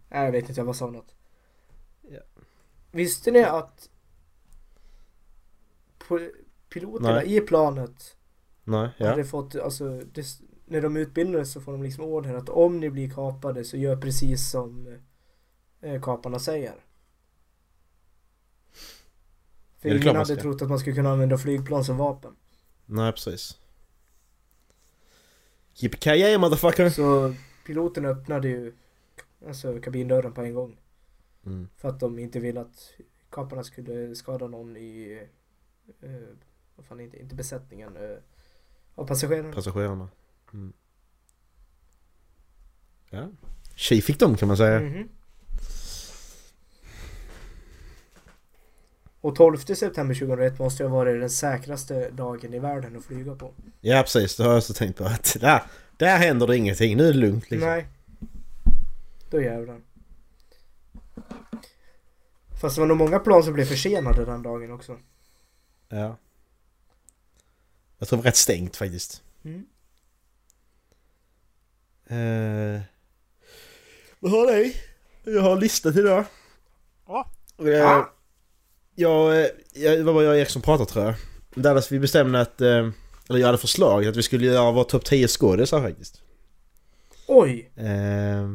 S2: Nej, jag vet inte. Jag bara sa något.
S3: Ja.
S2: Visste ni att po- piloterna
S3: Nej.
S2: i planet
S3: nej, ja.
S2: hade fått, alltså, det, när de utbildades så får de liksom order att om ni blir kapade så gör precis som eh, kaparna säger. För
S3: Ja, det är klart
S2: ingen
S3: man
S2: hade
S3: ska.
S2: trott att man skulle kunna använda flygplan som vapen.
S3: Nej, precis. Yippee motherfucker!
S2: Så piloterna öppnade ju alltså, kabindörren på en gång.
S3: Mm.
S2: För att de inte ville att kaparna skulle skada någon i, eh, vad fan inte, inte besättningen, eh, av passagerarna.
S3: Passagerarna. Mm. Ja. Tji fick dem kan man säga.
S2: Mhm. Och 12 september 2001 måste ju ha varit den säkraste dagen i världen att flyga på.
S3: Ja, precis. Det har jag också tänkt på. Att där, där händer det ingenting. Nu är det lugnt liksom.
S2: Nej. Då jävlar. Fast det var nog många plan som blev försenade den dagen också.
S3: Ja. Jag tror det var rätt stängt faktiskt.
S2: Mm.
S3: Eh, Vad har dig? Jag har listat idag.
S4: Ja.
S3: Eh, jag, eh, jag, det var bara jag och Erik som pratade tror jag. Dallas, vi bestämde att, eh, eller jag hade förslag att vi skulle göra vår topp 10 skådisar faktiskt.
S2: Oj!
S3: Eh,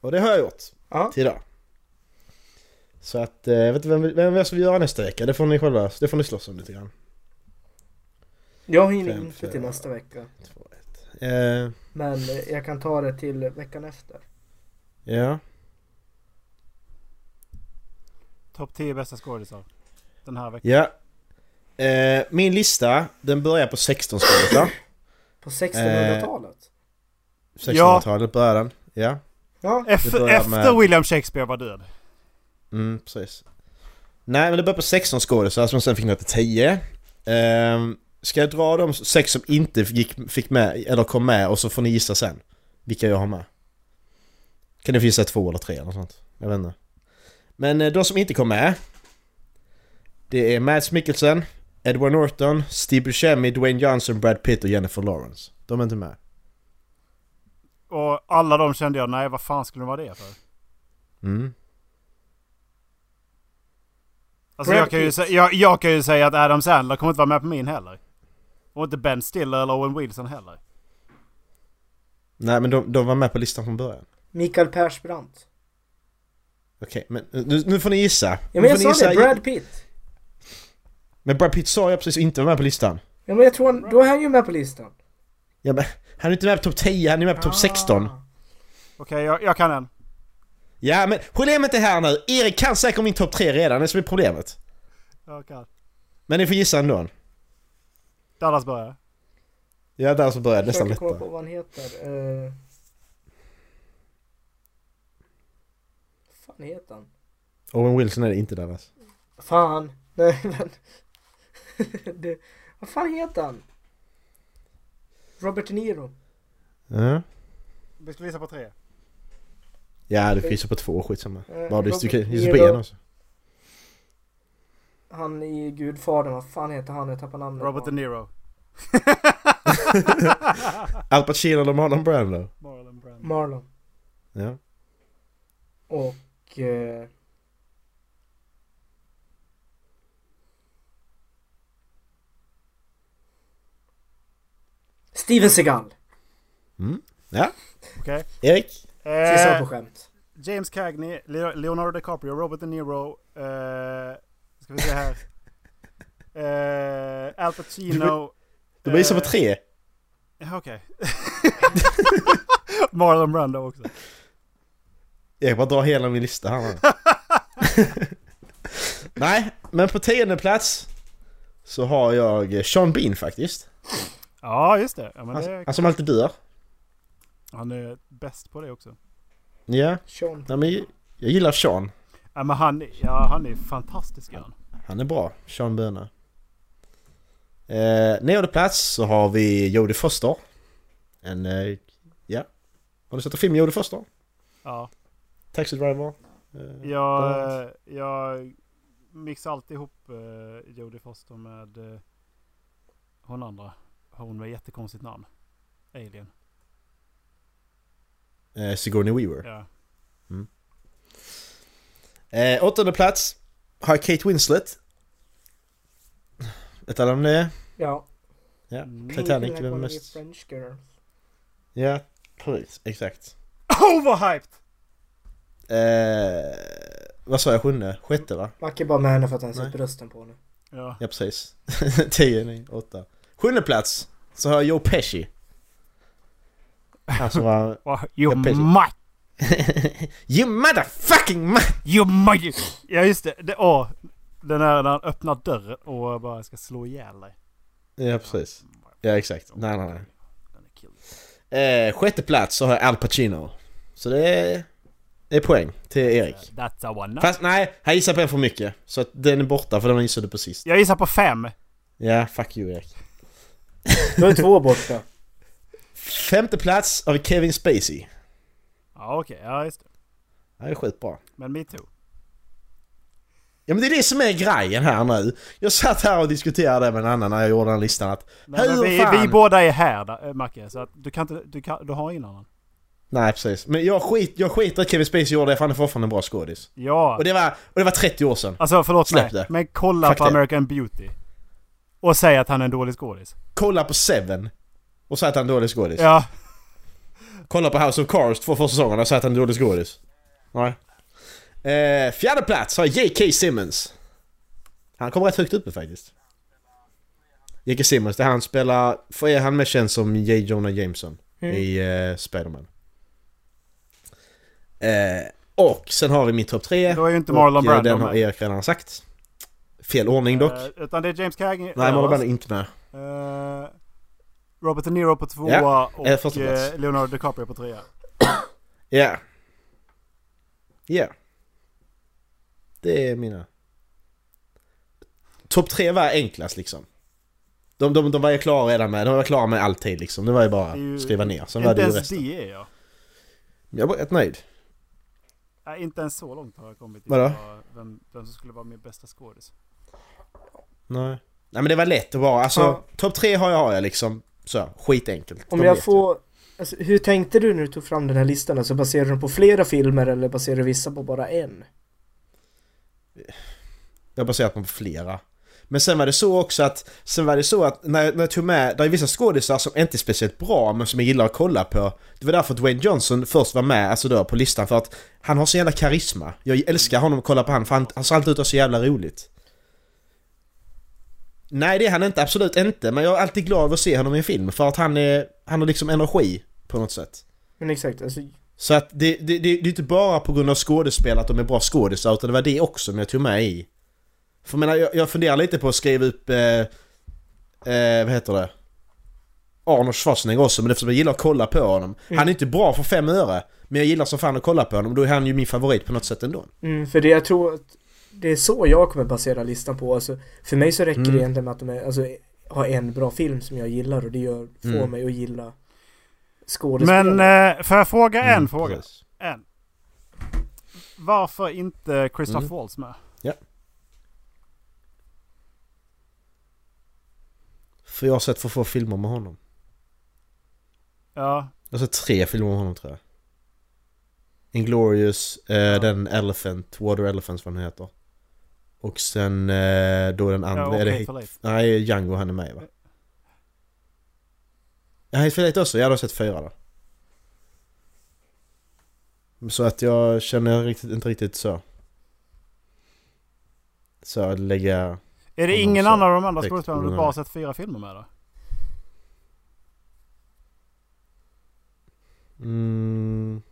S3: och det har jag gjort
S2: Ja.
S3: till idag. Så att, eh, jag vet inte vem, vem jag ska göra nästa vecka? Det får ni själva, det får ni slåss om lite grann.
S2: Jag hinner
S3: Fem,
S2: inte till
S3: fyra.
S2: nästa vecka.
S3: Två, ett. Eh,
S2: Men eh, jag kan ta det till veckan efter.
S3: ja.
S4: Topp 10 bästa skådisar. Den här veckan.
S3: Ja. Eh, min lista, den börjar på 16 skådisar.
S2: På
S3: Eh.
S2: 1600-talet?
S3: 1600-talet börjar den. Ja.
S2: Ja.
S4: Ef-
S3: börjar
S4: efter
S3: med-
S4: William Shakespeare var död.
S3: Mm, precis. Nej, men det börjar på 16 skådisar som sen fick ner till 10. Ehm, ska jag dra de sex som inte gick, fick med, eller kom med och så får ni gissa sen vilka jag har med? Kan ni få gissa två eller tre eller något sånt? Jag vet inte. Men eh, de som inte kom med Det är Mads Mikkelsen, Edward Norton, Steve Buscemi, Dwayne Johnson, Brad Pitt och Jennifer Lawrence. De är inte med.
S4: Och alla de kände jag, nej vad fan skulle de vara det för?
S3: Mm.
S4: Alltså
S2: Brad
S4: jag kan, ju
S2: Pitt.
S4: säga, jag, jag kan ju säga att Adam Sandler kommer inte vara med på min heller. Och inte Ben Stiller eller Owen Wilson heller.
S3: Nej men de, de var med på listan från början.
S2: Mikael Persbrandt.
S3: Okej, men eh, nu, nu får ni gissa.
S2: Ja
S3: Nu
S2: men jag
S3: får ni
S2: sa det,
S3: gissa.
S2: Brad Pitt.
S3: Men Brad Pitt sa jag precis inte var med på listan.
S2: Ja men jag tror han, då är han ju med på listan.
S3: Ja, men, han är inte med på topp 10, han är med på topp 16.
S4: Okej, jag, jag kan en.
S3: Ja men problemet är här nu, Erik kan säkert min topp 3 redan, det är som är problemet.
S4: Jag kan.
S3: Men ni får gissa ändå.
S4: Dallas börjar.
S3: Ja, där så började det nästan
S2: Försöker kolla
S3: lätta.
S2: på vad han heter. Uh... fan heter han?
S3: Owen Wilson är det inte där alltså.
S2: Fan! Nej men... det... Vad fan heter han? Robert De Niro.
S3: Ja.
S4: Vi skulle gissa på tre.
S3: Ja, du finns ju på två, skitsamma.
S2: Eh,
S3: Vad det är, du kan
S2: Robert
S3: gissa på
S2: Niro.
S3: en också.
S2: Han i Gudfadern, vad fan heter han? Jag tappar namnet.
S4: Robert De Niro.
S3: Al Pacino eller Marlon Brando?
S4: Marlon Brando.
S2: Marlon.
S3: Ja.
S2: Och... eh, Steven Seagal!
S4: Okej.
S3: Erik?
S2: Sista
S4: Eh,
S2: på skämt.
S4: James Cagney, Leo- Leonardo DiCaprio, Robert De Niro. Eh, ska vi se här. Eh, Al Pacino.
S3: Du bara gissa på
S4: eh,
S3: tre?
S4: ja, Okej. Marlon Brando också.
S3: Jag bara drar hela min lista här nu. Nej, men på tionde plats så har jag Sean Bean faktiskt.
S4: Ja, just det. Ja, men
S3: Han,
S4: det
S3: han som alltid dör.
S4: han är bäst på det också.
S3: Ja,
S4: Eh.
S2: Sean.
S3: nej, men jag gillar Sean.
S4: Ja, men han, ja, han är fantastisk. Han.
S3: Han är bra, Sean Böna. Eh, nionde plats så har vi Jodie Foster. En, eh, ja. Har du sett en film med Jodie Foster?
S4: Ja.
S3: Taxi Driver. Eh,
S4: Jag,
S3: bland annat.
S4: eh, jag mixar alltid ihop eh, Jodie Foster med eh, hon andra. Hon med jättekonstigt namn. Alien.
S3: Eh, Sigourney Weaver.
S4: Ja.
S3: Eh, åttonde plats har jag Kate Winslet. Vet alla om det är?
S2: Ja.
S3: Ja,
S4: Mm.
S3: Titanic
S2: Like
S3: är väl
S2: one of
S3: mest...
S2: your French girl.
S3: Ja, precis. Exakt.
S4: Oh, Overhyped!
S3: Eh, vad sa jag, sjunde? Sjätte va?
S2: Man kan bara med henne för att han har
S3: Nej.
S2: sett brösten på henne.
S4: Ja.
S3: Ja, precis. Tio, nio, åtta. Sjunde plats så har jag Joe Pesci. Han som var...
S4: Oh, you
S3: Alltså. Jag pissar.
S4: might!
S3: you motherfucking man!
S4: You might! Ja just det. det åh, den här när han öppnar dörren och bara ska slå ihjäl dig.
S3: Ja, precis. Ja, exakt. Nej, nej, nej.
S4: Den är kul.
S3: Eh, sjätte plats så har jag Al Pacino. Så det är, det är poäng till Erik.
S4: That's a one
S3: Fast nej, han gissade på en för mycket. Så att den är borta för den gissade på sist.
S4: Jag gissar på fem.
S3: Ja, fuck you Erik.
S2: Då är två borta.
S3: Femte plats har vi Kevin Spacey.
S4: Ja okej, ja just det.
S3: Han är skitbra.
S4: Men me too.
S3: Ja men det är det som är grejen här nu. Jag satt här och diskuterade det med en annan när jag gjorde den här listan att...
S4: Nej, men
S3: Hur
S4: vi,
S3: fan?
S4: vi båda är här där, eh, Macke, så att du kan inte, du, kan, du har ingen annan.
S3: Nej precis. Men jag, skit, jag skiter i att Kevin Spacey gjorde det för han är fortfarande en bra skådis.
S4: Ja!
S3: Och det var, och det var 30 år sedan.
S4: Alltså förlåt
S3: Släpp
S4: mig,
S3: det.
S4: men kolla
S3: Fuck
S4: på
S3: det.
S4: American Beauty. Och säg att han är en dålig skådis.
S3: Kolla på Seven. Och säg att han är en dålig skådis.
S4: Ja,
S3: Kolla på House of Cards två första säsongerna och säg att han är en dålig skådis. Nej. Eh, fjärde plats har J.K. Simmons. Han kom rätt högt uppe faktiskt. J.K. Simmons, det är han spelar... För är han mest känd som J. Jonah Jameson
S4: Mm.
S3: i eh, Spiderman. Eh, och sen har vi min topp tre.
S4: då är ju inte
S3: Och,
S4: Marlon
S3: eh,
S4: Brando
S3: Den har
S4: med.
S3: Erik redan sagt. Fel ordning dock.
S4: Eh, Utan det är James Cagney
S3: Nej, Marlon Brando
S4: överst.
S3: är inte med.
S4: Eh, Robert De Niro på tvåa
S3: Ja, eh,
S4: och
S3: första plats.
S4: eh, Leonardo DiCaprio på trea.
S3: Ja. Ja. Det är mina. Topp tre var enklast liksom. De, de, de var ju klara redan med, de var klara med alltid liksom. Det var ju bara
S4: Det är ju-
S3: att skriva ner. Sen var
S4: Inte
S3: det ju
S4: ens
S3: resten.
S4: det är jag.
S3: Jag var rätt nöjd.
S4: Nej, inte ens så långt har jag kommit. i
S3: Vadå?
S4: vad- Vem, vem som skulle vara min bästa skådis.
S3: Nej. Nej men det var lätt att bara, alltså
S2: Ja.
S3: topp tre har jag, har jag liksom. Så, skitenkelt.
S2: Om
S3: De
S2: jag
S3: vet
S2: får... Alltså, hur tänkte du när du tog fram den här listan? Alltså baserar du den på flera filmer eller baserar du vissa på bara en?
S3: Jag har baserat mig på flera. Men sen var det så också att, sen var det så att när, när jag tog med, det är vissa skådisar som inte är speciellt bra men som jag gillar att kolla på. Det var därför Dwayne Johnson först var med, alltså då på listan för att han har så jävla karisma. Jag älskar honom att kolla på han för han, han ser alltid ut att ha så jävla roligt. Nej det är han inte, absolut inte. Men jag är alltid glad över att se honom i en film för att han är, han har liksom energi på något sätt.
S2: Men exakt, alltså...
S3: Så att det, det, det, det är inte bara på grund av skådespel att de är bra skådisar utan det var det också som jag tog med i. För jag menar, jag, jag funderar lite på att skriva upp... Eh, eh, vad heter det? Arnold Schwarzenegger också, men eftersom jag gillar att kolla på honom.
S4: Mm.
S3: Han är inte bra för fem öre, men jag gillar som fan att kolla på honom. Då är han ju min favorit på något sätt ändå.
S2: Mm, för det jag tror att det är så jag kommer basera listan på. Alltså, för mig så räcker det
S3: Mm.
S2: egentligen med att de är, alltså, har en bra film som jag gillar och det gör, får
S3: Mm.
S2: mig att gilla skådespelare.
S4: Men eh, får jag fråga en
S3: Mm,
S4: fråga?
S3: precis.
S4: En. Varför inte Christoph
S3: Mm.
S4: Waltz med?
S3: För jag har sett för få filmer med honom.
S4: Ja,
S3: Jag har sett Alltså, tre filmer med honom tror jag. Inglorious, eh, den Elephant, Water Elephants vad den heter. Och sen eh, då den andra,
S4: ja
S3: är det
S4: okej,
S3: Hate-
S4: för late.
S3: Nej, Django han är med va? Ja, Hate for Late också? Jag har sett fyra då. Så att jag känner riktigt, inte riktigt så. Så att lägga...
S4: Är det
S3: Om de
S4: ingen
S3: sa
S4: annan av de andra
S3: direkt
S4: skådespelarna
S3: på
S4: du
S3: den
S4: bara
S3: här.
S4: sett fyra filmer med då?
S3: Mm,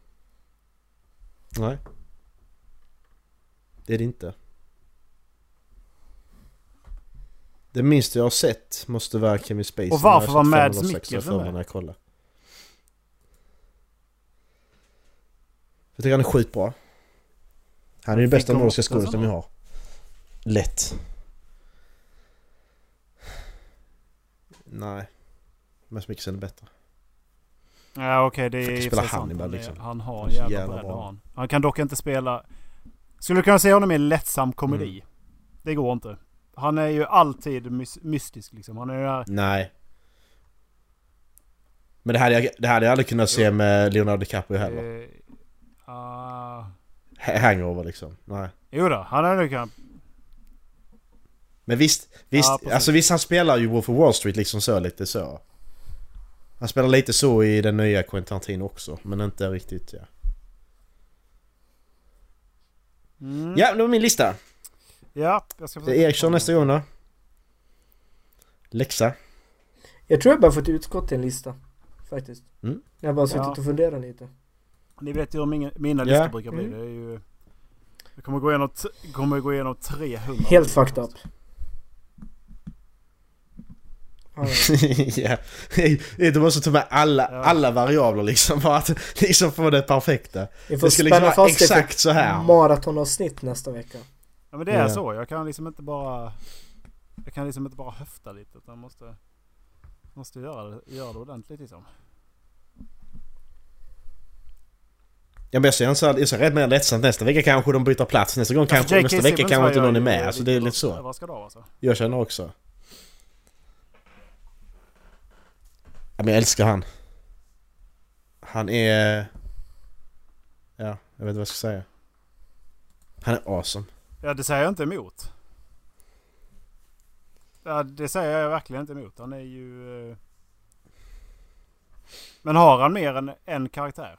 S3: nej. Det är det inte. Det minsta jag har sett måste vara Kevin Spacey.
S4: Och varför
S3: Jag har
S4: var
S3: sett fem
S4: Mads
S3: eller sex, jag
S4: Mikkelsen
S3: får mig
S4: med?
S3: när jag kollar. Jag tycker han är skitbra. Han är ju
S4: Fick
S3: bästa
S4: de
S3: nordiska
S4: också
S3: skådespelaren vi
S4: såna?
S3: har. Lätt. Nej. Mads Mikkelsen är bättre.
S4: Ja okej det är
S3: Fick
S4: i och för
S3: spela
S4: sig sant.
S3: Hannibal,
S4: Han är-
S3: liksom.
S4: Han har
S3: Han
S4: en
S3: är så
S4: jävla
S3: jävla
S4: bredd.
S3: bra.
S4: har Han. han kan dock inte spela... Skulle du kunna se honom i en lättsam komedi?
S3: Mm.
S4: Det går inte. Han är ju alltid mys- mystisk liksom. Han är ju där...
S3: Nej. Men det hade jag, det hade jag aldrig kunnat
S2: Mm.
S3: se med Leonardo DiCaprio heller.
S4: Eh, ah.
S3: Ha- Hangover liksom. Nej.
S4: jo då, han är ju kan...
S3: Men visst, visst,
S4: Ja, precis.
S3: alltså visst han spelar ju Wolf of Wall Street liksom så lite så. Han spelar lite så i den nya Quentin Tarantino också, men inte riktigt ja.
S4: Mm.
S3: Ja, det var min lista.
S4: Ja, jag ska
S3: Det
S2: Mm.
S3: är Eriksson nästa gång då. Läxa.
S2: Jag tror jag bara fått utskott till en lista. Faktiskt.
S3: Mm.
S2: Jag har bara suttit
S4: Ja.
S2: och funderat lite.
S4: Ni vet ju hur mina, mina
S3: Ja.
S4: listor brukar bli.
S2: Mm.
S4: Det är ju... Jag kommer gå igenom, t- kommer gå igenom 300.
S2: Helt fucked up. Ja, ja.
S3: ja. Du måste ta med alla,
S4: Ja.
S3: alla variabler liksom för att liksom få det perfekta.
S2: Vi får
S3: Det ska liksom
S2: spänna
S3: vara
S2: fast det
S3: exakt så
S2: för
S3: här.
S2: maratonavsnitt nästa vecka.
S4: Ja men det är
S3: Ja.
S4: så. Jag kan liksom inte bara... Jag kan liksom inte bara höfta lite utan måste... Måste göra det, göra det ordentligt liksom.
S3: Ja men jag ser, en så här, jag ser rätt mer lättsamt nästa vecka kanske de byter plats nästa gång kanske,
S4: J.K.
S3: nästa vecka
S4: Simmons
S3: kanske
S4: var
S3: inte
S4: jag
S3: någon är
S4: ju
S3: med. Alltså det är lite så.
S4: överraskad av alltså.
S3: Jag känner också. Ja men jag älskar han. Han är... Ja, jag vet inte vad jag ska säga. Han är awesome.
S4: Ja det säger jag inte emot. Ja det säger jag verkligen inte emot. Han är ju... eh, Men har han mer än en karaktär?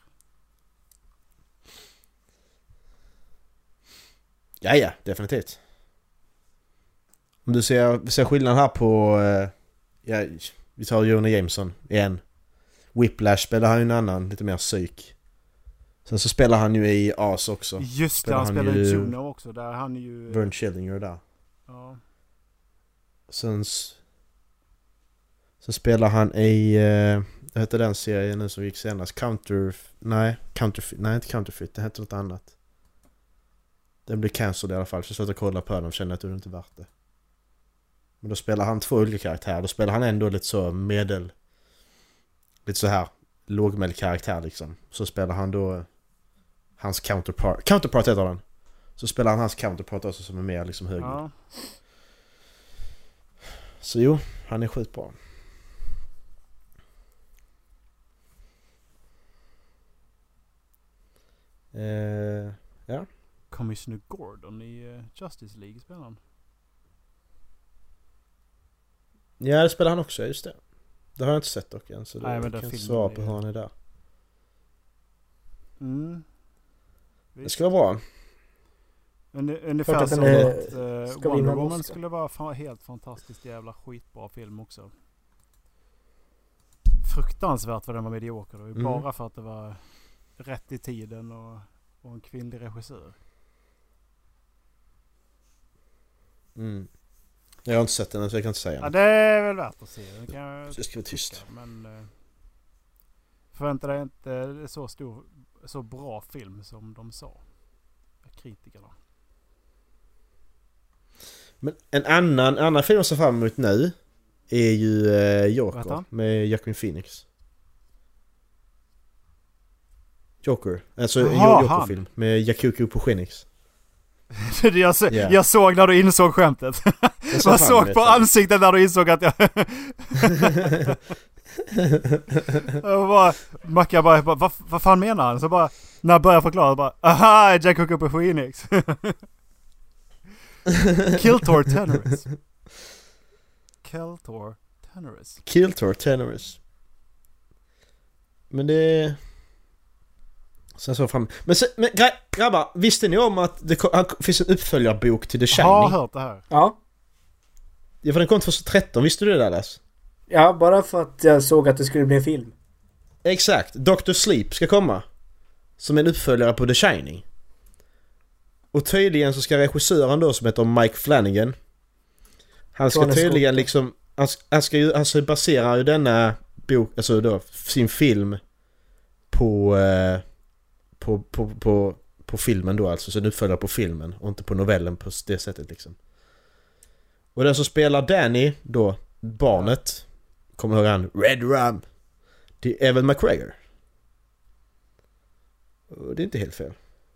S3: Ja, ja, definitivt. Om du ser, ser skillnad här på... eh, Ja, vi tar Jonah Jameson igen. Whiplash spelar han ju en annan, lite mer psyk. Sen så spelar han ju i As också.
S4: Just det,
S3: Spelar
S4: han
S3: han
S4: spelar ju
S3: ju-
S4: Juno också. Där han är ju...
S3: Vern Schillinger där.
S4: Ja.
S3: Sen... s- Sen spelar han i... eh, Vad hette den serien nu som gick senast? Counter... Nej, Counterfeit. Nej, inte Counterfeit. Det hette något annat. Den blev cancelled i alla fall. Så jag slutade kolla på den och kände att det var inte värt det. Men då spelar han två olika karaktärer. Då spelar han ändå lite så medel... Lite så här lågmäld karaktär liksom. Så spelar han då... eh, Hans counterpart. Counterpart heter den! Så spelar han hans counterpart också som är mer liksom högre.
S4: ja.
S3: Så jo, han är skitbra. Eh,
S4: Commissioner Gordon i eh, Justice League spelar han.
S3: ja, det spelar han också, just det. Det har jag inte sett dock än, så det
S4: Nej, men
S3: jag
S4: den
S3: kan inte
S4: filmen
S3: svara
S4: är
S3: på
S4: ju-
S3: hur han är där.
S4: Mm.
S3: Det ska vara bra.
S4: Un- Ungefär
S2: att den
S4: som
S2: är-
S4: att eh,
S2: ska vinna
S4: Wonder
S2: en
S4: Woman
S2: Oscar.
S4: skulle vara fa- helt fantastiskt jävla skitbra film också. Fruktansvärt vad den var medioker. Det var ju
S3: Mm.
S4: bara för att det var rätt i tiden och, och en kvinnlig regissör.
S3: Mm. Jag har inte sett den än så jag kan inte säga
S4: Ja,
S3: något.
S4: det är väl värt att se. Den kan jag
S3: Så jag ska vara
S4: tycka,
S3: tyst.
S4: Men eh, förvänta dig inte så stor, så bra film som de sa. Kritikerna.
S3: Men en annan, en annan film jag ser fram emot nu är ju eh,
S4: Vad
S3: Joker
S4: heter han?
S3: med Joaquin Phoenix. Joker. Alltså en
S4: Jaha,
S3: Jo-
S4: han.
S3: Joker-film med Jakuku på Phoenix.
S4: jag, så,
S3: Ja.
S4: jag såg när du insåg skämtet.
S3: Jag ser
S4: Jag
S3: fram
S4: såg
S3: emot
S4: på
S3: den.
S4: ansiktet när du insåg att jag... jag bara, Mackan bara, jag bara vad, vad fan menar han? Så bara, när jag började förklara, bara, aha, Jack Hook uppe Phoenix. Kiltor Tenoris. Keltor Tenoris.
S3: Kiltor Tenorous. Men det... Sen så fram... Men, sen, men gra- grabbar, visste ni om att det kom, han, finns en uppföljarbok till The
S4: Har
S3: Shining?
S4: hört det här.
S2: Ja.
S3: Ja, för den kom 2013, visste du det Dallas?
S2: Ja, bara för att jag såg att det skulle bli en film.
S3: Exakt, Dr. Sleep ska komma. Som en uppföljare på The Shining. Och tydligen så ska regissören då som heter Mike Flanagan. Han ska
S2: Från en
S3: tydligen
S2: skola.
S3: liksom, han, s- han ska ju, alltså basera ju denna bok, alltså då sin film på, eh, på, på, på, på filmen då alltså. Så en uppföljare på filmen och inte på novellen på det sättet liksom. Och den som spelar Danny då, barnet, kommer du ihåg han? Red Rum. Det är Evan McGregor. Och det är inte helt fel.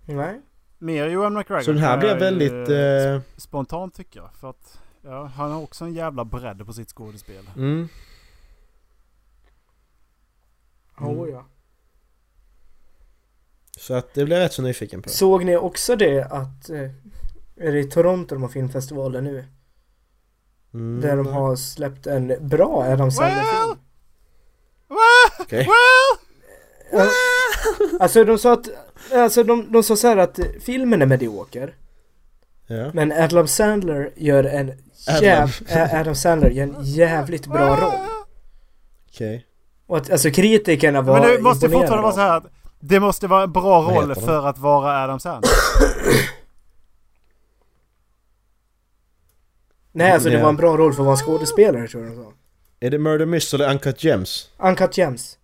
S2: Nej.
S4: Mer Johan McGregor.
S3: Så den här
S4: kan
S3: blir
S4: jag ju,
S3: väldigt...
S4: eh,
S3: Eh,
S4: Spontant tycker jag. För att ja, han har också en jävla bredd på sitt skådespel.
S3: mm.
S2: Mm. ja.
S3: Så att det blir jag rätt så nyfiken på.
S2: Såg ni också det att... eh, Är det i Toronto de har filmfestivalen nu?
S3: Mm.
S2: Där de har släppt en bra Adam Sandler-film.
S3: Okej.
S2: Ja. Alltså de sa att... Alltså de, de sa så här att eh, filmen är medioker.
S3: Ja.
S2: Men Adam Sandler gör en... Jäv, Ä- Adam Sandler gör en jävligt bra roll.
S3: Okej.
S2: Och att, alltså kritikerna var
S4: Men det måste
S2: imponerade
S4: fortfarande vara
S2: av
S4: så här att det måste vara en bra
S3: Vad
S4: roll
S3: heter den?
S4: för att vara Adam Sandler.
S2: Nej, alltså det var en bra roll för att vara en skådespelare tror jag de sa.
S3: Är det Murder Mystery eller Uncut Gems?
S2: Uncut Gems.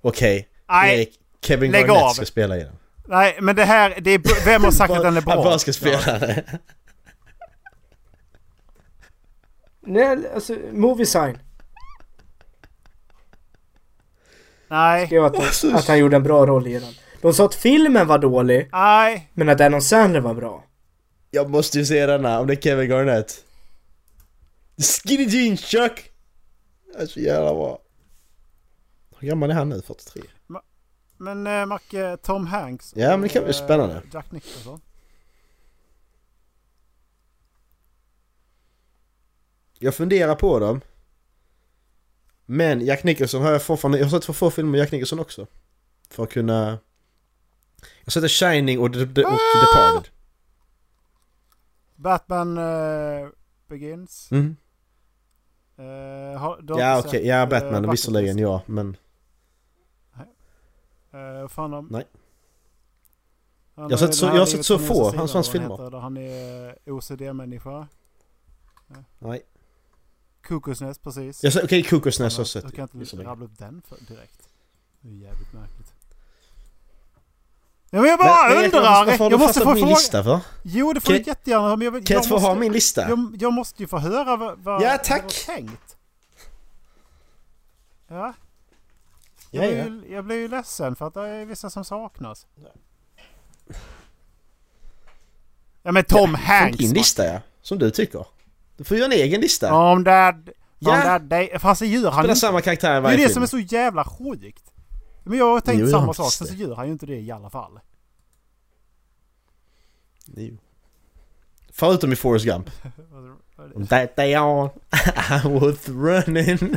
S3: Okej. Det
S4: Nej,
S3: är Kevin
S4: Lägg av.
S3: Garnett ska spela i den.
S4: nej, men det här, det är, b- vem har sagt att den är bra?
S3: Han bara ska spela den.
S2: Nej, alltså Movie Sign
S4: Nej,
S2: skrev att, att han gjorde en bra roll i den. De sa att filmen var dålig,
S4: nej,
S2: men att Adam Sandler var bra.
S3: Jag måste ju se denna om det är Kevin Garnett. Skinny Jeans Chuck! Det är så jävla bra. Hur gammal är han nu? 43?
S4: men eh, Macke, Tom Hanks.
S3: Ja, men det kan
S4: och,
S3: bli spännande.
S4: eh, Jack Nicholson.
S3: Jag funderar på dem. Men Jack Nicholson har jag fortfarande, jag har sett för få filmer med Jack Nicholson också. För att kunna... Jag har sett The Shining och, The, The, och
S4: Ah!
S3: Departed.
S4: Batman eh, Begins.
S3: Mm.
S4: Eh, har, du har
S3: Ja
S4: inte
S3: okej,
S4: sett,
S3: ja
S4: eh,
S3: Batman
S4: Bucket
S3: visserligen
S4: List?
S3: ja men
S4: Eh, vad fan om...
S3: Nej.
S4: Han
S3: har
S4: är
S3: sett så-
S4: det här
S3: jag har sett
S4: livet
S3: så
S4: på
S3: få
S4: nya
S3: hans-
S4: sidan,
S3: hans
S4: vad
S3: filmer.
S4: heter det? Han är OCD-människa. Nej.
S3: Nej.
S4: Kokosnäs, precis.
S3: Jag har sett- Okej, Kokosnäs har jag
S4: Jag
S3: sett
S4: kan inte
S3: visserligen.
S4: rabbla upp den för direkt. Det är jävligt märkligt. Ja, men jag bara
S3: Men- men
S4: undrar!
S3: Jack, Varför har
S4: jag,
S3: du
S4: måste
S3: fastnat
S4: få
S3: på min
S4: fråga...
S3: lista för?
S4: Jo, det får
S3: Kan-
S4: du jättegärna men jag, vill-
S3: Kan jag
S4: jag,
S3: inte få ha
S4: måste,
S3: min lista?
S4: jag, jag måste ju få höra vad, vad
S3: Ja,
S4: vad
S3: tack.
S4: det var tänkt. Ja,
S3: Ja,
S4: jag, blir
S3: ja.
S4: Ju, jag blir ju ledsen för att det är vissa som saknas. Ja men Tom
S3: Som
S4: Hanks!
S3: din
S4: va?
S3: lista ja, som du tycker. Du får göra en egen lista. Ja,
S4: Om där...
S3: Ja.
S4: Om där dig... Fast det gör han
S3: Spela
S4: inte.
S3: samma karaktär i
S4: Det är
S3: varje
S4: det
S3: film.
S4: som är så jävla sjukt. Men jag har tänkt
S3: Jo, jag
S4: samma
S3: visste
S4: sak, sen så
S3: det.
S4: gör han ju inte det i alla fall.
S3: Jo. Förutom i Forrest Gump. That day on I was running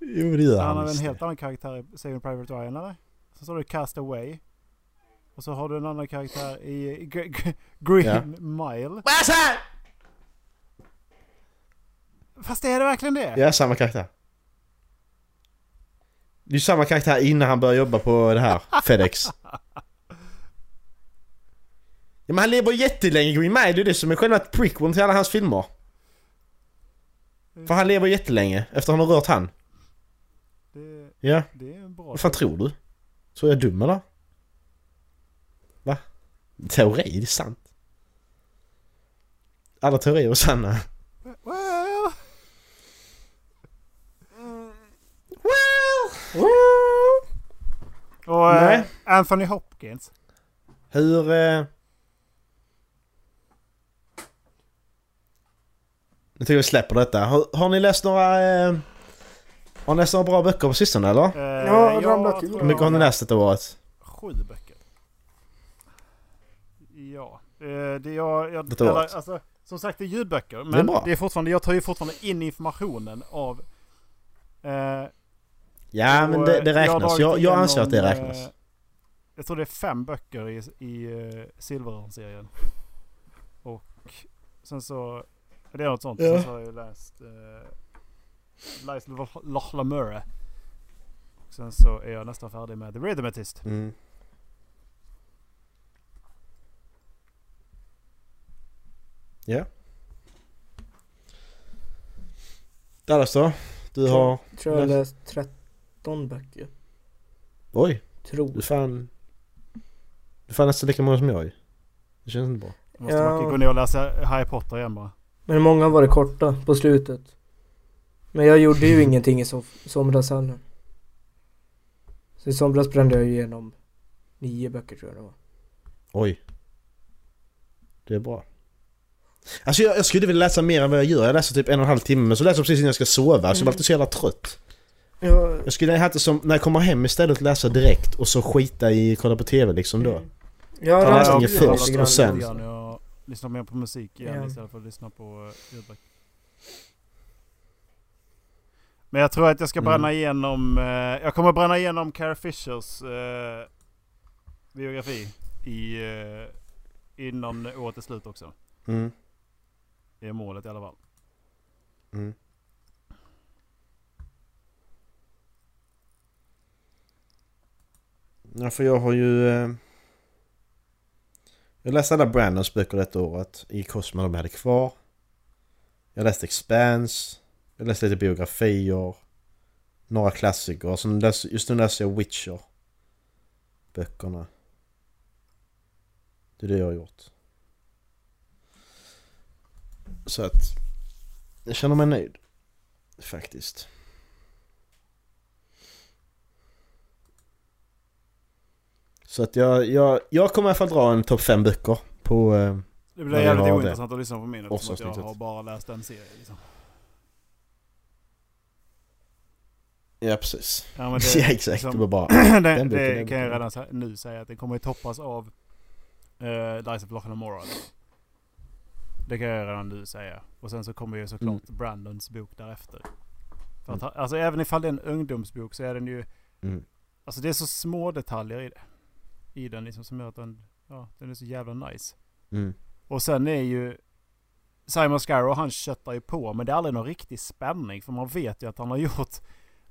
S3: Jo det gör
S4: han
S3: han,
S4: har en
S3: visst.
S4: helt annan karaktär i Saving Private Ryan eller? Sen så har du Cast Away. Och så har du en annan karaktär i Gr- Gr- Green
S3: Ja.
S4: Mile.
S3: What's that?
S4: Fast är det verkligen det?
S3: Ja, samma karaktär Det är ju samma karaktär innan han börjar jobba på det här FedEx. Ja, men han lever jättelänge Green Mile, det är det som är själva prequeln till alla hans filmer.
S4: Mm.
S3: För han lever jättelänge efter han har rört han.
S4: Det,
S3: Ja,
S4: det är en bra...
S3: vad fan tror du? Tror jag är dum eller? Va? Teori, det är sant. Alla teorier är sanna.
S4: Well,
S3: Well!
S4: och eh,
S3: Nej.
S4: Anthony Hopkins.
S3: Hur... Eh... Nu tycker jag vi släpper detta. Har, har ni läst några... Eh... Har ni läst några bra böcker på sistone eller?
S4: Eh,
S2: Ja, ramlat till.
S4: tror
S3: Hur mycket har ni läst detta året?
S4: Sju böcker. Ja. eh, Det jag, jag,
S3: Detta var
S4: eller,
S3: allt.
S4: alltså, som sagt det är ljudböcker.
S3: Det är
S4: Men det
S3: bra.
S4: är, fortfarande, jag tar ju fortfarande in informationen av... Eh,
S3: Ja
S4: och,
S3: men det, det
S4: eh, jag har
S3: räknas.
S4: dragit
S3: Jag, jag anser att det
S4: igenom,
S3: räknas.
S4: eh, Jag tror det är fem böcker i, i eh, Silverörn-serien. Och sen så... Det är något sånt. Sen så har jag ju läst eh, Lies of Loch Lamure. Och sen så är jag nästan färdig med The Rhythmatist.
S3: Mm. Ja. Dallas då? Du har...
S2: Tror jag har läst 13 böcker.
S3: Oj, du är
S2: Tror.
S3: fan... Du är fan nästan lika många som jag ju. Det känns inte bra.
S4: Jag måste
S2: Ja.
S4: verkligen gå ner och läsa Harry Potter igen bara.
S2: Men många var det korta på slutet. Men jag gjorde ju ingenting i sof- somras heller. Så i somras brände jag igenom nio böcker tror jag det var.
S3: Oj. Det är bra. Alltså jag, jag skulle vilja läsa mer än vad jag gör. Jag läser typ en och en halv timme men så läser jag precis innan jag ska sova. Så jag blir alltid så jävla trött.
S2: Ja,
S3: Jag skulle ha haft det som när jag kommer hem istället läsa direkt och så skita i kolla på TV liksom
S2: Mm.
S3: då.
S2: jag
S3: Ta
S2: ramlade
S3: läsningen
S2: ur
S3: först
S2: lite
S3: och
S2: grann.
S3: sen.
S4: Lite grann. Jag lyssnar mer på musik igen
S2: Ja.
S4: istället för att lyssna på eh, ljudböcker. Men jag tror att jag ska
S3: Mm.
S4: bränna igenom... Eh, jag kommer bränna igenom Carrie Fishers eh, biografi i, eh, innan året är slut också.
S3: Mm.
S4: Det är målet i alla fall.
S3: Mm. Ja, för jag har ju... eh, Jag läste alla Brandons böcker detta året i Cosmo de hade kvar. Jag läste Expanse. Jag läste lite biografier. Några klassiker. Sen läs, just nu läser jag Witcher. Böckerna. Det är det jag har gjort. Så att... Jag känner mig nöjd. Faktiskt. Så att jag, jag, jag kommer i alla fall dra en topp 5 böcker på... Eh,
S4: Det
S3: Ja,
S4: blir
S3: vi
S4: jävligt
S3: har det.
S4: ointressant att lyssna på min eftersom att jag
S3: Årsavsnittet.
S4: har bara läst en serie. Liksom.
S3: ja, precis.
S4: Ja, men
S3: ja, exakt.
S4: liksom-
S3: Det var bara...
S4: det,
S3: Den boken, den
S4: det kan
S3: boken.
S4: jag redan sä- nu säga att det kommer ju toppas av uh, Dice of Loch and Moral. Det kan jag redan nu säga. Och sen så kommer ju såklart
S3: Mm.
S4: Brandons bok därefter. För att, ha- Alltså även ifall det är en ungdomsbok så är den ju...
S3: Mm.
S4: Alltså det är så små detaljer i, det, i den liksom som gör att den, ja, den är så jävla nice.
S3: Mm.
S4: Och sen är ju... Simon Scarrow han köttar ju på men det är aldrig någon riktig spänning för man vet ju att han har gjort...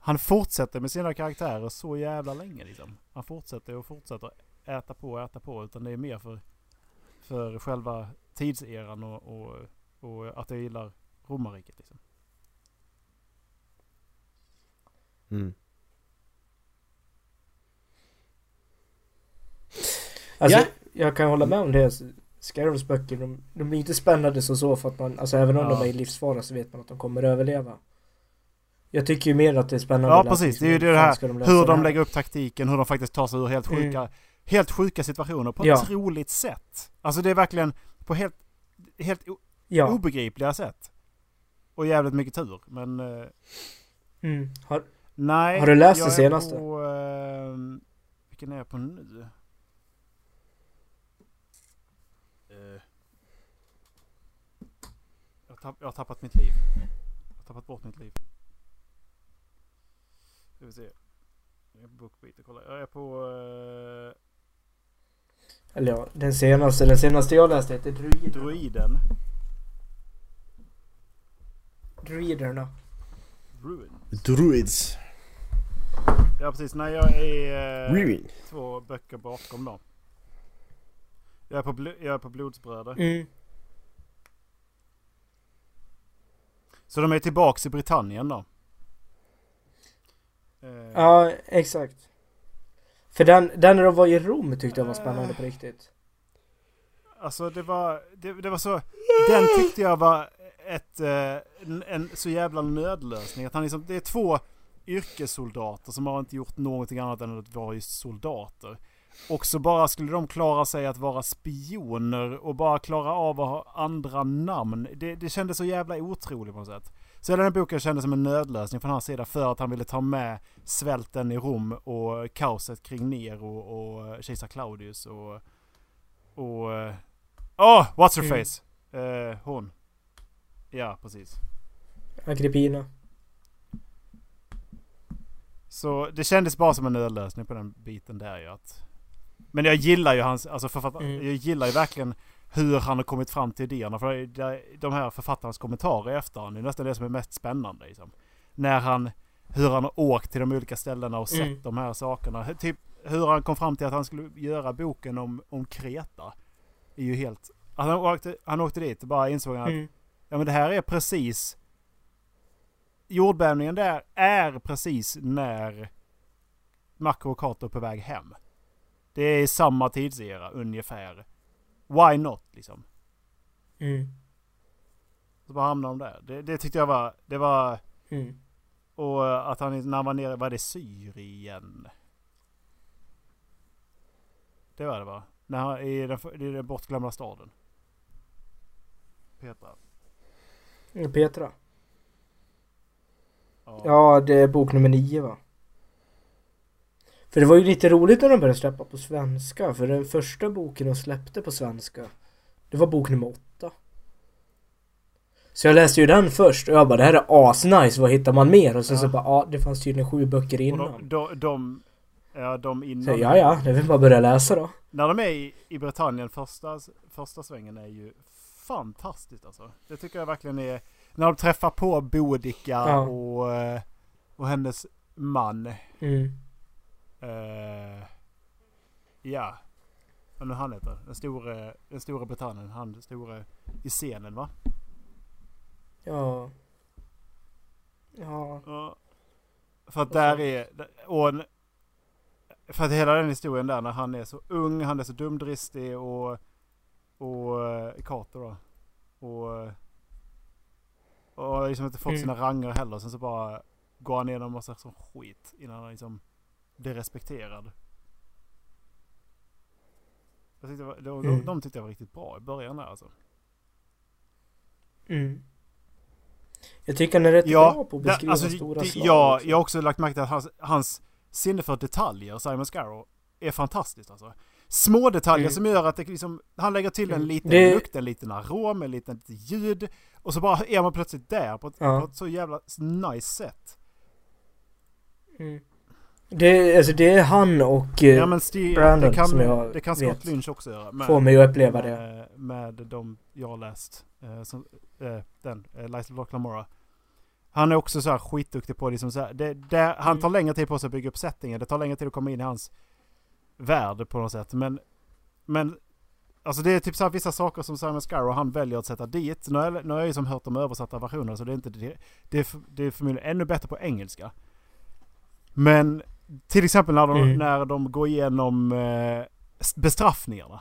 S4: Han fortsätter med sina karaktärer så jävla länge liksom. Han fortsätter och fortsätter äta på och äta på utan det är mer för, för själva tidseran och, och, och att jag gillar romarriket liksom.
S3: Mm.
S2: Alltså,
S3: Ja.
S2: jag kan hålla med om det. Scarrows böcker, de, de blir inte spännande så så för att man, alltså även om
S4: Ja.
S2: de är i livsfara så vet man att de kommer överleva. Jag tycker ju mer att det är spännande
S4: Ja
S2: att läsa,
S4: precis,
S2: liksom,
S4: det är ju
S2: hur
S4: det
S2: fan
S4: här
S2: ska lösa
S4: hur
S2: det
S4: de
S2: här?
S4: lägger upp taktiken, hur de faktiskt tar sig ur helt
S2: Mm.
S4: sjuka, helt sjuka situationer på
S2: Ja.
S4: ett roligt sätt. Alltså det är verkligen på helt, helt o-
S2: Ja.
S4: obegripliga sätt. Och jävligt mycket tur. Men eh,
S2: Mm. Har,
S4: nej.
S2: Har du läst
S4: jag
S2: det
S4: är
S2: senaste?
S4: På, eh, vilken är jag på nu? Eh, jag, tapp, jag har tappat mitt liv. Jag har tappat bort mitt liv. Ska vi se. Jag är på BookBeat och kollar. Jag är på... eh,
S2: eller ja, den senaste, den senaste jag läste heter Druider.
S4: Druiden.
S2: Druiderna.
S4: Druid.
S3: Druids.
S4: Ja precis, nej jag är eh,
S3: Really?
S4: två böcker bakom då. Jag är på, bl- jag är på blodsbröder.
S2: Mm.
S4: Så de är tillbaks i Britannien då. Eh,
S2: Ja, exakt. För den, den när de var i Rom tyckte jag var spännande på riktigt.
S4: Alltså det var, det, det var så, den tyckte jag var ett, eh, en, en så jävla nödlösning. Att han liksom, det är två yrkessoldater som har inte gjort någonting annat än att vara just soldater. Och så bara skulle de klara sig att vara spioner och bara klara av att ha andra namn. Det, det kändes så jävla otroligt på något sätt. Så hela den boken kändes som en nödlösning från hans sida för att han ville ta med svälten i Rom och kaoset kring Nero och kejsar Claudius och och... eh, Åh! what's her
S2: Mm.
S4: face? Eh, hon. Ja, precis.
S2: Agrippina.
S4: Så det kändes bara som en nödlösning på den biten där ju att... Men jag gillar ju hans, alltså författaren,
S2: Mm.
S4: jag gillar ju verkligen hur han har kommit fram till idéerna. För det- det- de här författarnas kommentarer i efterhand är nästan det som är mest spännande liksom. När han, hur han har åkt till de olika ställena och sett
S2: Mm.
S4: de här sakerna. Hur- Typ hur han kom fram till att han skulle göra boken om, om Kreta. Är ju helt... att Han åkte, han åkte dit och bara insåg att
S2: Mm.
S4: Ja men det här är precis... Jordbävningen där är precis när Macro och Cato är på väg hem. Det är samma tidsera ungefär. Why not liksom?
S2: Mm.
S4: Så bara hamnar de där. Det, det tyckte jag var... Det var...
S2: Mm.
S4: Och att han när han var nere... Var det Syrien? Det var det va? När han, i, den, I den bortglömda staden. Petra.
S2: Och Petra. Ja, det är bok nummer nio va? För det var ju lite roligt när de började släppa på svenska. För den första boken de släppte på svenska, det var bok nummer åtta. Så jag läste ju den först och jag bara det här är asnice, vad hittar man mer? Och sen så
S4: Ja.
S2: bara ja, det fanns tydligen sju böcker
S4: Och
S2: innan.
S4: de, de, de, ja, de innan.
S2: Så jag, ja, ja, det är väl bara att börja läsa då.
S4: När de är i, i Britannien första, första svängen är ju fantastiskt alltså. Det tycker jag verkligen är. När de träffar på Boudica
S2: Ja.
S4: och, eh, och hennes man.
S2: Mm.
S4: Eh, ja. Vad nu han heter. Den store, den store Britannien. Han den store i scenen va?
S2: Ja. Ja.
S4: Ja. För att där är... Och en, för att hela den historien där när han är så ung, han är så dumdristig och... Och eh, Carter då. Och... Och har liksom inte fått
S2: Mm.
S4: sina ranger heller. Sen så bara går han igenom massa sån skit innan han liksom blir respekterad. Jag tyckte, det var- de, de,
S2: Mm.
S4: de tyckte jag var riktigt bra i början där alltså.
S2: Mm. Jag tycker han är rätt bra på att
S4: där-
S2: beskriva
S4: alltså,
S2: stora
S4: det-
S2: slag. liksom.
S4: Ja,
S2: också.
S4: jag har också lagt märke till att hans, hans sinne för detaljer, Simon Scarrow, är fantastiskt alltså. Små detaljer
S2: Mm.
S4: som gör att det liksom, han lägger till en
S2: Mm.
S4: liten
S2: Det-
S4: lukt, en liten arom, en liten ljud. Och så bara är man plötsligt där på ett,
S2: Ja.
S4: på ett så jävla nice sätt.
S2: Mm. Det, alltså det är han och... eh,
S4: Ja men Steve,
S2: Brandon,
S4: det kan,
S2: som jag
S4: det kan
S2: vet.
S4: Scott Lynch också göra. Men,
S2: Får mig att uppleva det.
S4: med, Eh, med de jag har läst. Eh, som, eh, den, eh, Liza Locklamora. Han är också så här skitduktig på liksom så här, det, det, Han
S2: Mm.
S4: tar längre tid på sig att bygga upp settingen. Det tar längre tid att komma in i hans värld på något sätt. Men, men alltså det är typ så här vissa saker som Simon Scarrow han väljer att sätta dit. Nu har jag, nu har jag ju som hört de översatta versionerna så det är inte det. Det är, f- det är förmodligen ännu bättre på engelska. Men till exempel när de,
S2: Mm.
S4: när de går igenom eh, s- bestraffningarna.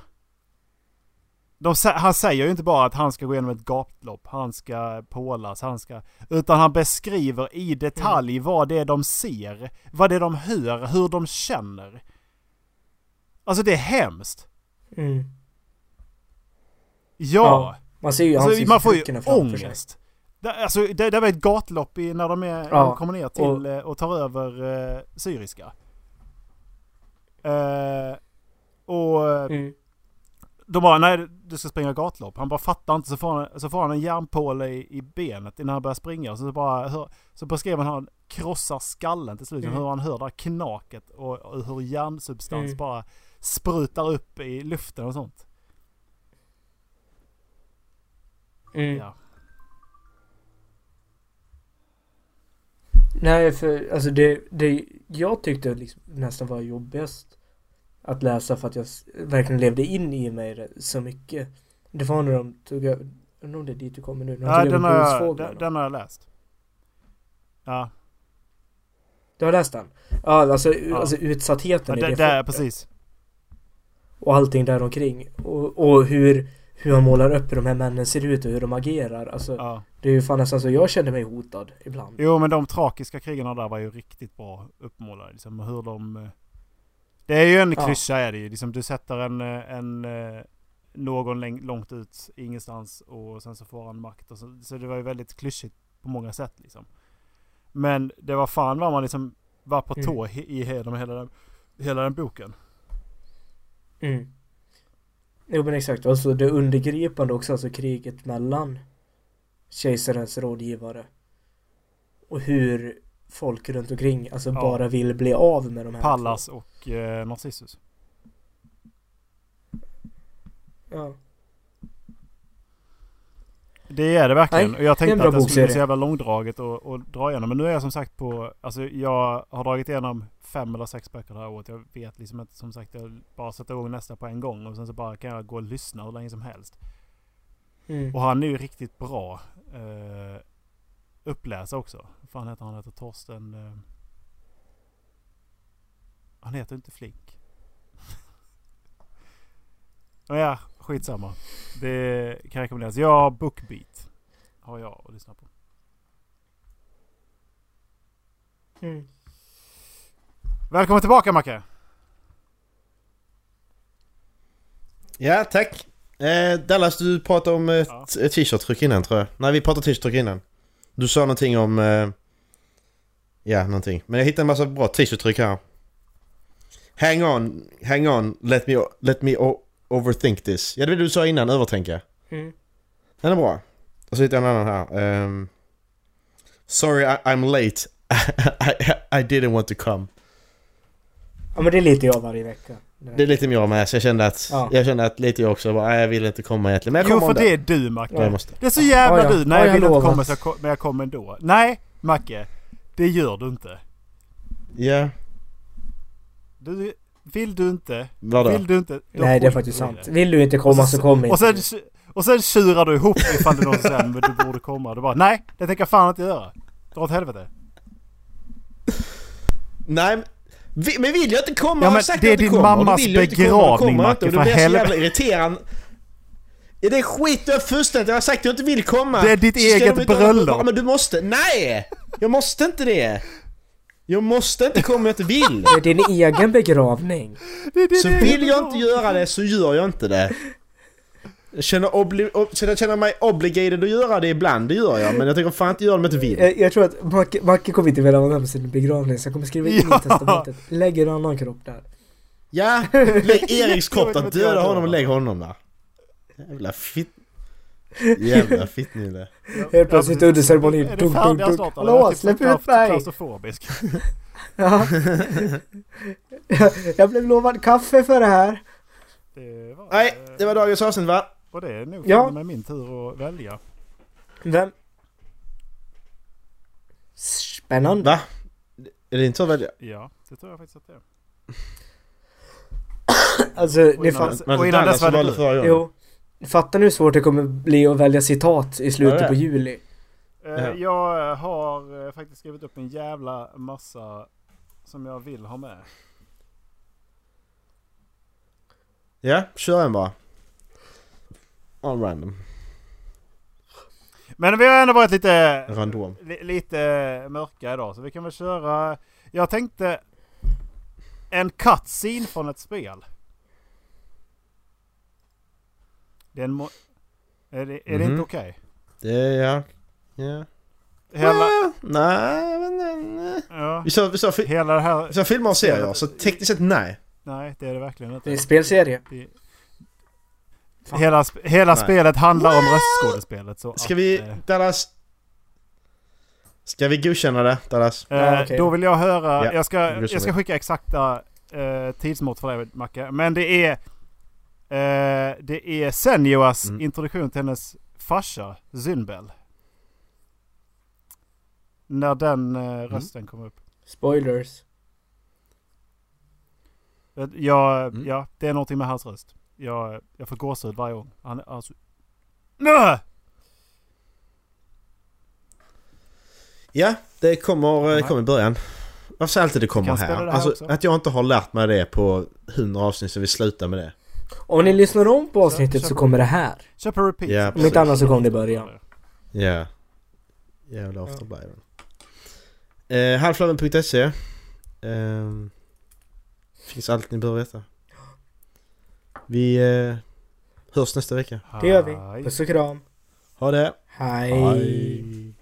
S4: De, sä- han säger ju inte bara att han ska gå igenom ett gatlopp, han ska pålas, han ska... Utan han beskriver i detalj
S2: Mm.
S4: vad det är de ser, vad det är de hör, hur de känner. Alltså det är hemskt.
S2: Mm.
S4: Ja!
S2: Man ser ju
S4: alltså, man får ju
S2: ansiktsuttrycken framför sig.
S4: ångest. Det, alltså, det, det var ett gatlopp i, när de är,
S2: Ja,
S4: kommer ner till
S2: och-
S4: eh, och, tar över eh, syriska. Eh, och eh,
S2: Mm.
S4: De bara, nej du ska springa gatlopp. Han bara fattar inte. Så får han, så får han en järnpåle i, i benet innan han börjar springa. Så, bara hör, så beskrev han hur han krossar skallen till slut.
S2: Mm.
S4: Hur han hör det här knaket och, och hur järnsubstans
S2: Mm.
S4: bara sprutar upp i luften och sånt.
S2: Mm.
S4: Ja.
S2: Nej, för alltså det, det... jag tyckte liksom nästan var jobbigast att läsa för att jag s- verkligen levde in i mig det så mycket. Det var när de tog över, jag undrar om det är dit du kommer nu, när de
S4: Ja,
S2: tog
S4: den, har
S2: över
S4: jag,
S2: Bonusfåglarna.
S4: den, den har jag läst. Ja,
S2: Du har läst den? Ja, alltså,
S4: Ja.
S2: alltså utsattheten
S4: ja
S2: i
S4: det,
S2: det
S4: det är
S2: folket.
S4: precis.
S2: och allting där omkring och, och hur, hur han målar upp hur de här männen ser ut och hur de agerar. Alltså,
S4: Ja.
S2: Det är ju fan nästan så jag kände mig hotad ibland.
S4: Jo, men de tragiska krigarna där var ju riktigt bra uppmålade. Liksom, hur de... eh, Det är ju en
S2: Ja.
S4: klyscha är det ju. Liksom, du sätter en, eh, en, eh, någon läng- långt ut ingenstans och sen så får han makt. Och så, så det var ju väldigt klyschigt på många sätt liksom. Men det var fan vad man liksom var på
S2: Mm.
S4: tå he- i hela, hela, den, hela den boken.
S2: Mm. Jo men exakt, alltså det undergripande också, alltså kriget mellan kejsarens rådgivare och hur folk runt omkring alltså
S4: Ja.
S2: bara vill bli av med de här
S4: Pallas och eh, Narcissus.
S2: två. Ja.
S4: Det är det verkligen.
S2: Nej,
S4: och jag
S2: det är en
S4: tänkte
S2: bra
S4: att det skulle
S2: bokserie.
S4: bli så jävla långdraget och, och dra igenom. Men nu är jag som sagt på... Alltså jag har dragit igenom fem eller sex böcker det här året. Jag vet liksom inte. Som sagt, jag bara sätter igång nästa på en gång. Och sen så bara kan jag gå och lyssna hur länge som helst.
S2: Mm.
S4: Och han är ju riktigt bra eh, uppläsare också. Vad fan heter han? Han heter Torsten... Eh, han heter inte Flink. ja, skitsamma. Det kan rekommenderas. Ja, Bookbeat har jag att lyssna på.
S2: Mm.
S4: Välkommen tillbaka Macke!
S3: Ja, tack. Eh, Dallas, du pratade om eh,
S4: Ja.
S3: t- t-shirt-tryck innan tror jag. Nej, vi pratade t-shirt-tryck innan. Du sa någonting om... Eh, ja, någonting. Men jag hittade en massa bra t-shirt-tryck här. Hang on, hang on, let me, let me o- overthink this. Ja, det var det du sa innan, övertänka.
S2: Mm.
S3: Den är bra. Och så hittade jag en annan här. Ehm, Sorry I, I'm late. I, I didn't want to come.
S2: Ja men det är lite jag varje vecka. Det där.
S3: Det är lite mer med, så jag kände att,
S2: Ja.
S3: jag kände att lite jag också bara, nej jag vill inte komma egentligen. Men jag
S4: Jo
S3: kommer
S4: för
S3: ändå.
S4: det är du Macke!
S3: Ja, jag måste.
S4: Det är så jävla
S2: Ja, ja.
S4: du! Nej
S2: Ja,
S4: jag
S2: jag
S4: vill inte
S2: lovar.
S4: komma så jag kom, men jag kommer ändå. Nej Macke! Det gör du inte.
S3: Ja,
S4: Du, vill du inte
S3: vadå?
S4: Vill du inte? då
S2: Nej det är
S4: skiter
S2: faktiskt
S4: du i
S2: sant.
S4: det.
S2: Vill du inte komma så kom inte.
S4: Och sen, och sen tjurar du ihop ifall det är någon som säger men du borde komma. Du bara nej, det tänker jag fan inte göra. Dra åt helvete.
S3: Nej, men- vi, men vill jag inte komma
S4: Ja,
S3: har
S4: men
S3: jag sagt
S4: det är
S3: att jag
S4: din
S3: inte kommer, och då
S4: mammas
S3: vill jag inte komma, och
S4: begravning,
S3: kommer jag
S4: Macke,
S3: inte, och
S4: för
S3: då blir jag så jävla
S4: helvete.
S3: irriterande. Ja, det är skit jag har fullständigt, jag har sagt att jag inte vill komma.
S4: Det är ditt
S3: Så ska
S4: eget
S3: de inte hålla på-
S4: bröllop.
S3: Ja, men du måste, nej! Jag måste inte det. Jag måste inte komma om jag inte vill.
S2: Det är din egen begravning.
S4: Det, det,
S3: Så
S4: det-
S3: vill jag inte göra det så gör jag inte det. Jag känner, obli- ob- så jag känner mig obligated att göra det ibland, det gör jag. Men jag tänker fan inte göra det om jag inte vill.
S4: Eh.
S2: Jag, Eh, jag tror att Macke, Macke kommer inte vilja vara med på sin begravning så jag kommer skriva in
S4: Ja.
S2: i testamentet. Lägg en annan kropp där.
S3: Ja, lägg Eriks kropp där,
S4: Jag vet inte vad
S3: döda
S4: jag gör.
S3: honom och lägg honom där. Jävla fitt... Jävla fittnylle.
S2: Helt plötsligt
S4: precis.
S2: under ceremonin.
S4: Är du
S2: Dunk,
S4: färdig
S2: dunk,
S4: snart
S2: dunk.
S4: eller? Jag är
S2: Hallå,
S4: typ
S2: släpp
S4: halvt
S2: ut mig!
S4: klaustrofobisk.
S2: Ja. jag blev lovad kaffe för det här.
S4: Det var, eh,
S3: Nej, det var dagens avsnitt va?
S4: Och det är nog
S2: Ja.
S4: fan med min tur att välja.
S2: Vem? Spännande.
S3: Va? Är det inte så väl?
S4: Ja, det tror jag faktiskt att det är.
S2: Alltså,
S4: Och
S2: det
S4: innan
S2: fanns...
S4: Och innan dess var det du.
S3: förra gången.
S2: Jo. Fattar ni hur svårt det kommer bli att välja citat i
S3: Ja, det
S2: slutet
S3: är.
S2: på juli?
S4: Eh, Jag eh, har eh, faktiskt skrivit upp en jävla massa som jag vill ha med.
S3: Ja, kör en bara. All random.
S4: Men vi har ändå varit lite
S3: Random.
S4: li- lite mörka idag så vi kan väl köra... Jag tänkte en cutscene från ett spel. Det är, en mo- är det, är det
S3: Mhm.
S4: inte okej?
S3: Det, ja. Ja.
S4: Hela,
S3: Ah, Nej, men nej.
S4: ja,
S3: Vi sa, vi sa, fi-
S4: hela det här...
S3: vi sa filmer och serier, så tekniskt sett nej.
S4: Nej, det är det verkligen
S2: Det är
S4: inte.
S2: en spelserie.
S4: Hela, sp- hela
S3: Nej.
S4: spelet handlar om röstskådespelet. Så
S3: Ska
S4: att,
S3: vi,
S4: eh,
S3: Dallas? Ska vi godkänna det, Dallas?
S4: Eh,
S2: Ja, okej.
S4: Då vill jag höra,
S3: Ja,
S4: jag, ska,
S3: det blir så
S4: jag ska
S3: det.
S4: skicka exakta eh, tidsmått för dig Macke. Men det är, eh, det är Senjoas
S3: Mm.
S4: introduktion till hennes farsa Zynbel.
S3: Mm.
S4: När den eh, rösten kommer upp.
S2: Spoilers.
S4: Jag- Jag,
S3: Mm.
S4: Eh, ja, det är någonting med hans röst. Jag, jag får gåshud varje gång. Han är alltså... Nö!
S3: Ja, det kommer, det
S4: Nej.
S3: kommer i början. Varför säger jag alltid det
S4: Vi
S3: kommer
S4: kan spela
S3: här?
S4: det här också.
S3: Alltså, att jag inte har lärt mig det på 100 avsnitt så vi slutar med det.
S2: Om ni lyssnar om på avsnittet
S4: kör
S2: så
S4: på.
S2: kommer det här.
S4: Kör på repeat.
S3: Ja,
S2: Om
S3: precis.
S2: inte annat så kom det i början.
S3: Ja. Jävla ofta blir det. Eh, Halflaven.se eh, Finns allt ni behöver veta. Vi eh, hörs nästa vecka.
S2: Det gör vi. Puss och kram.
S3: Ha det!
S2: Hej.
S3: Hej.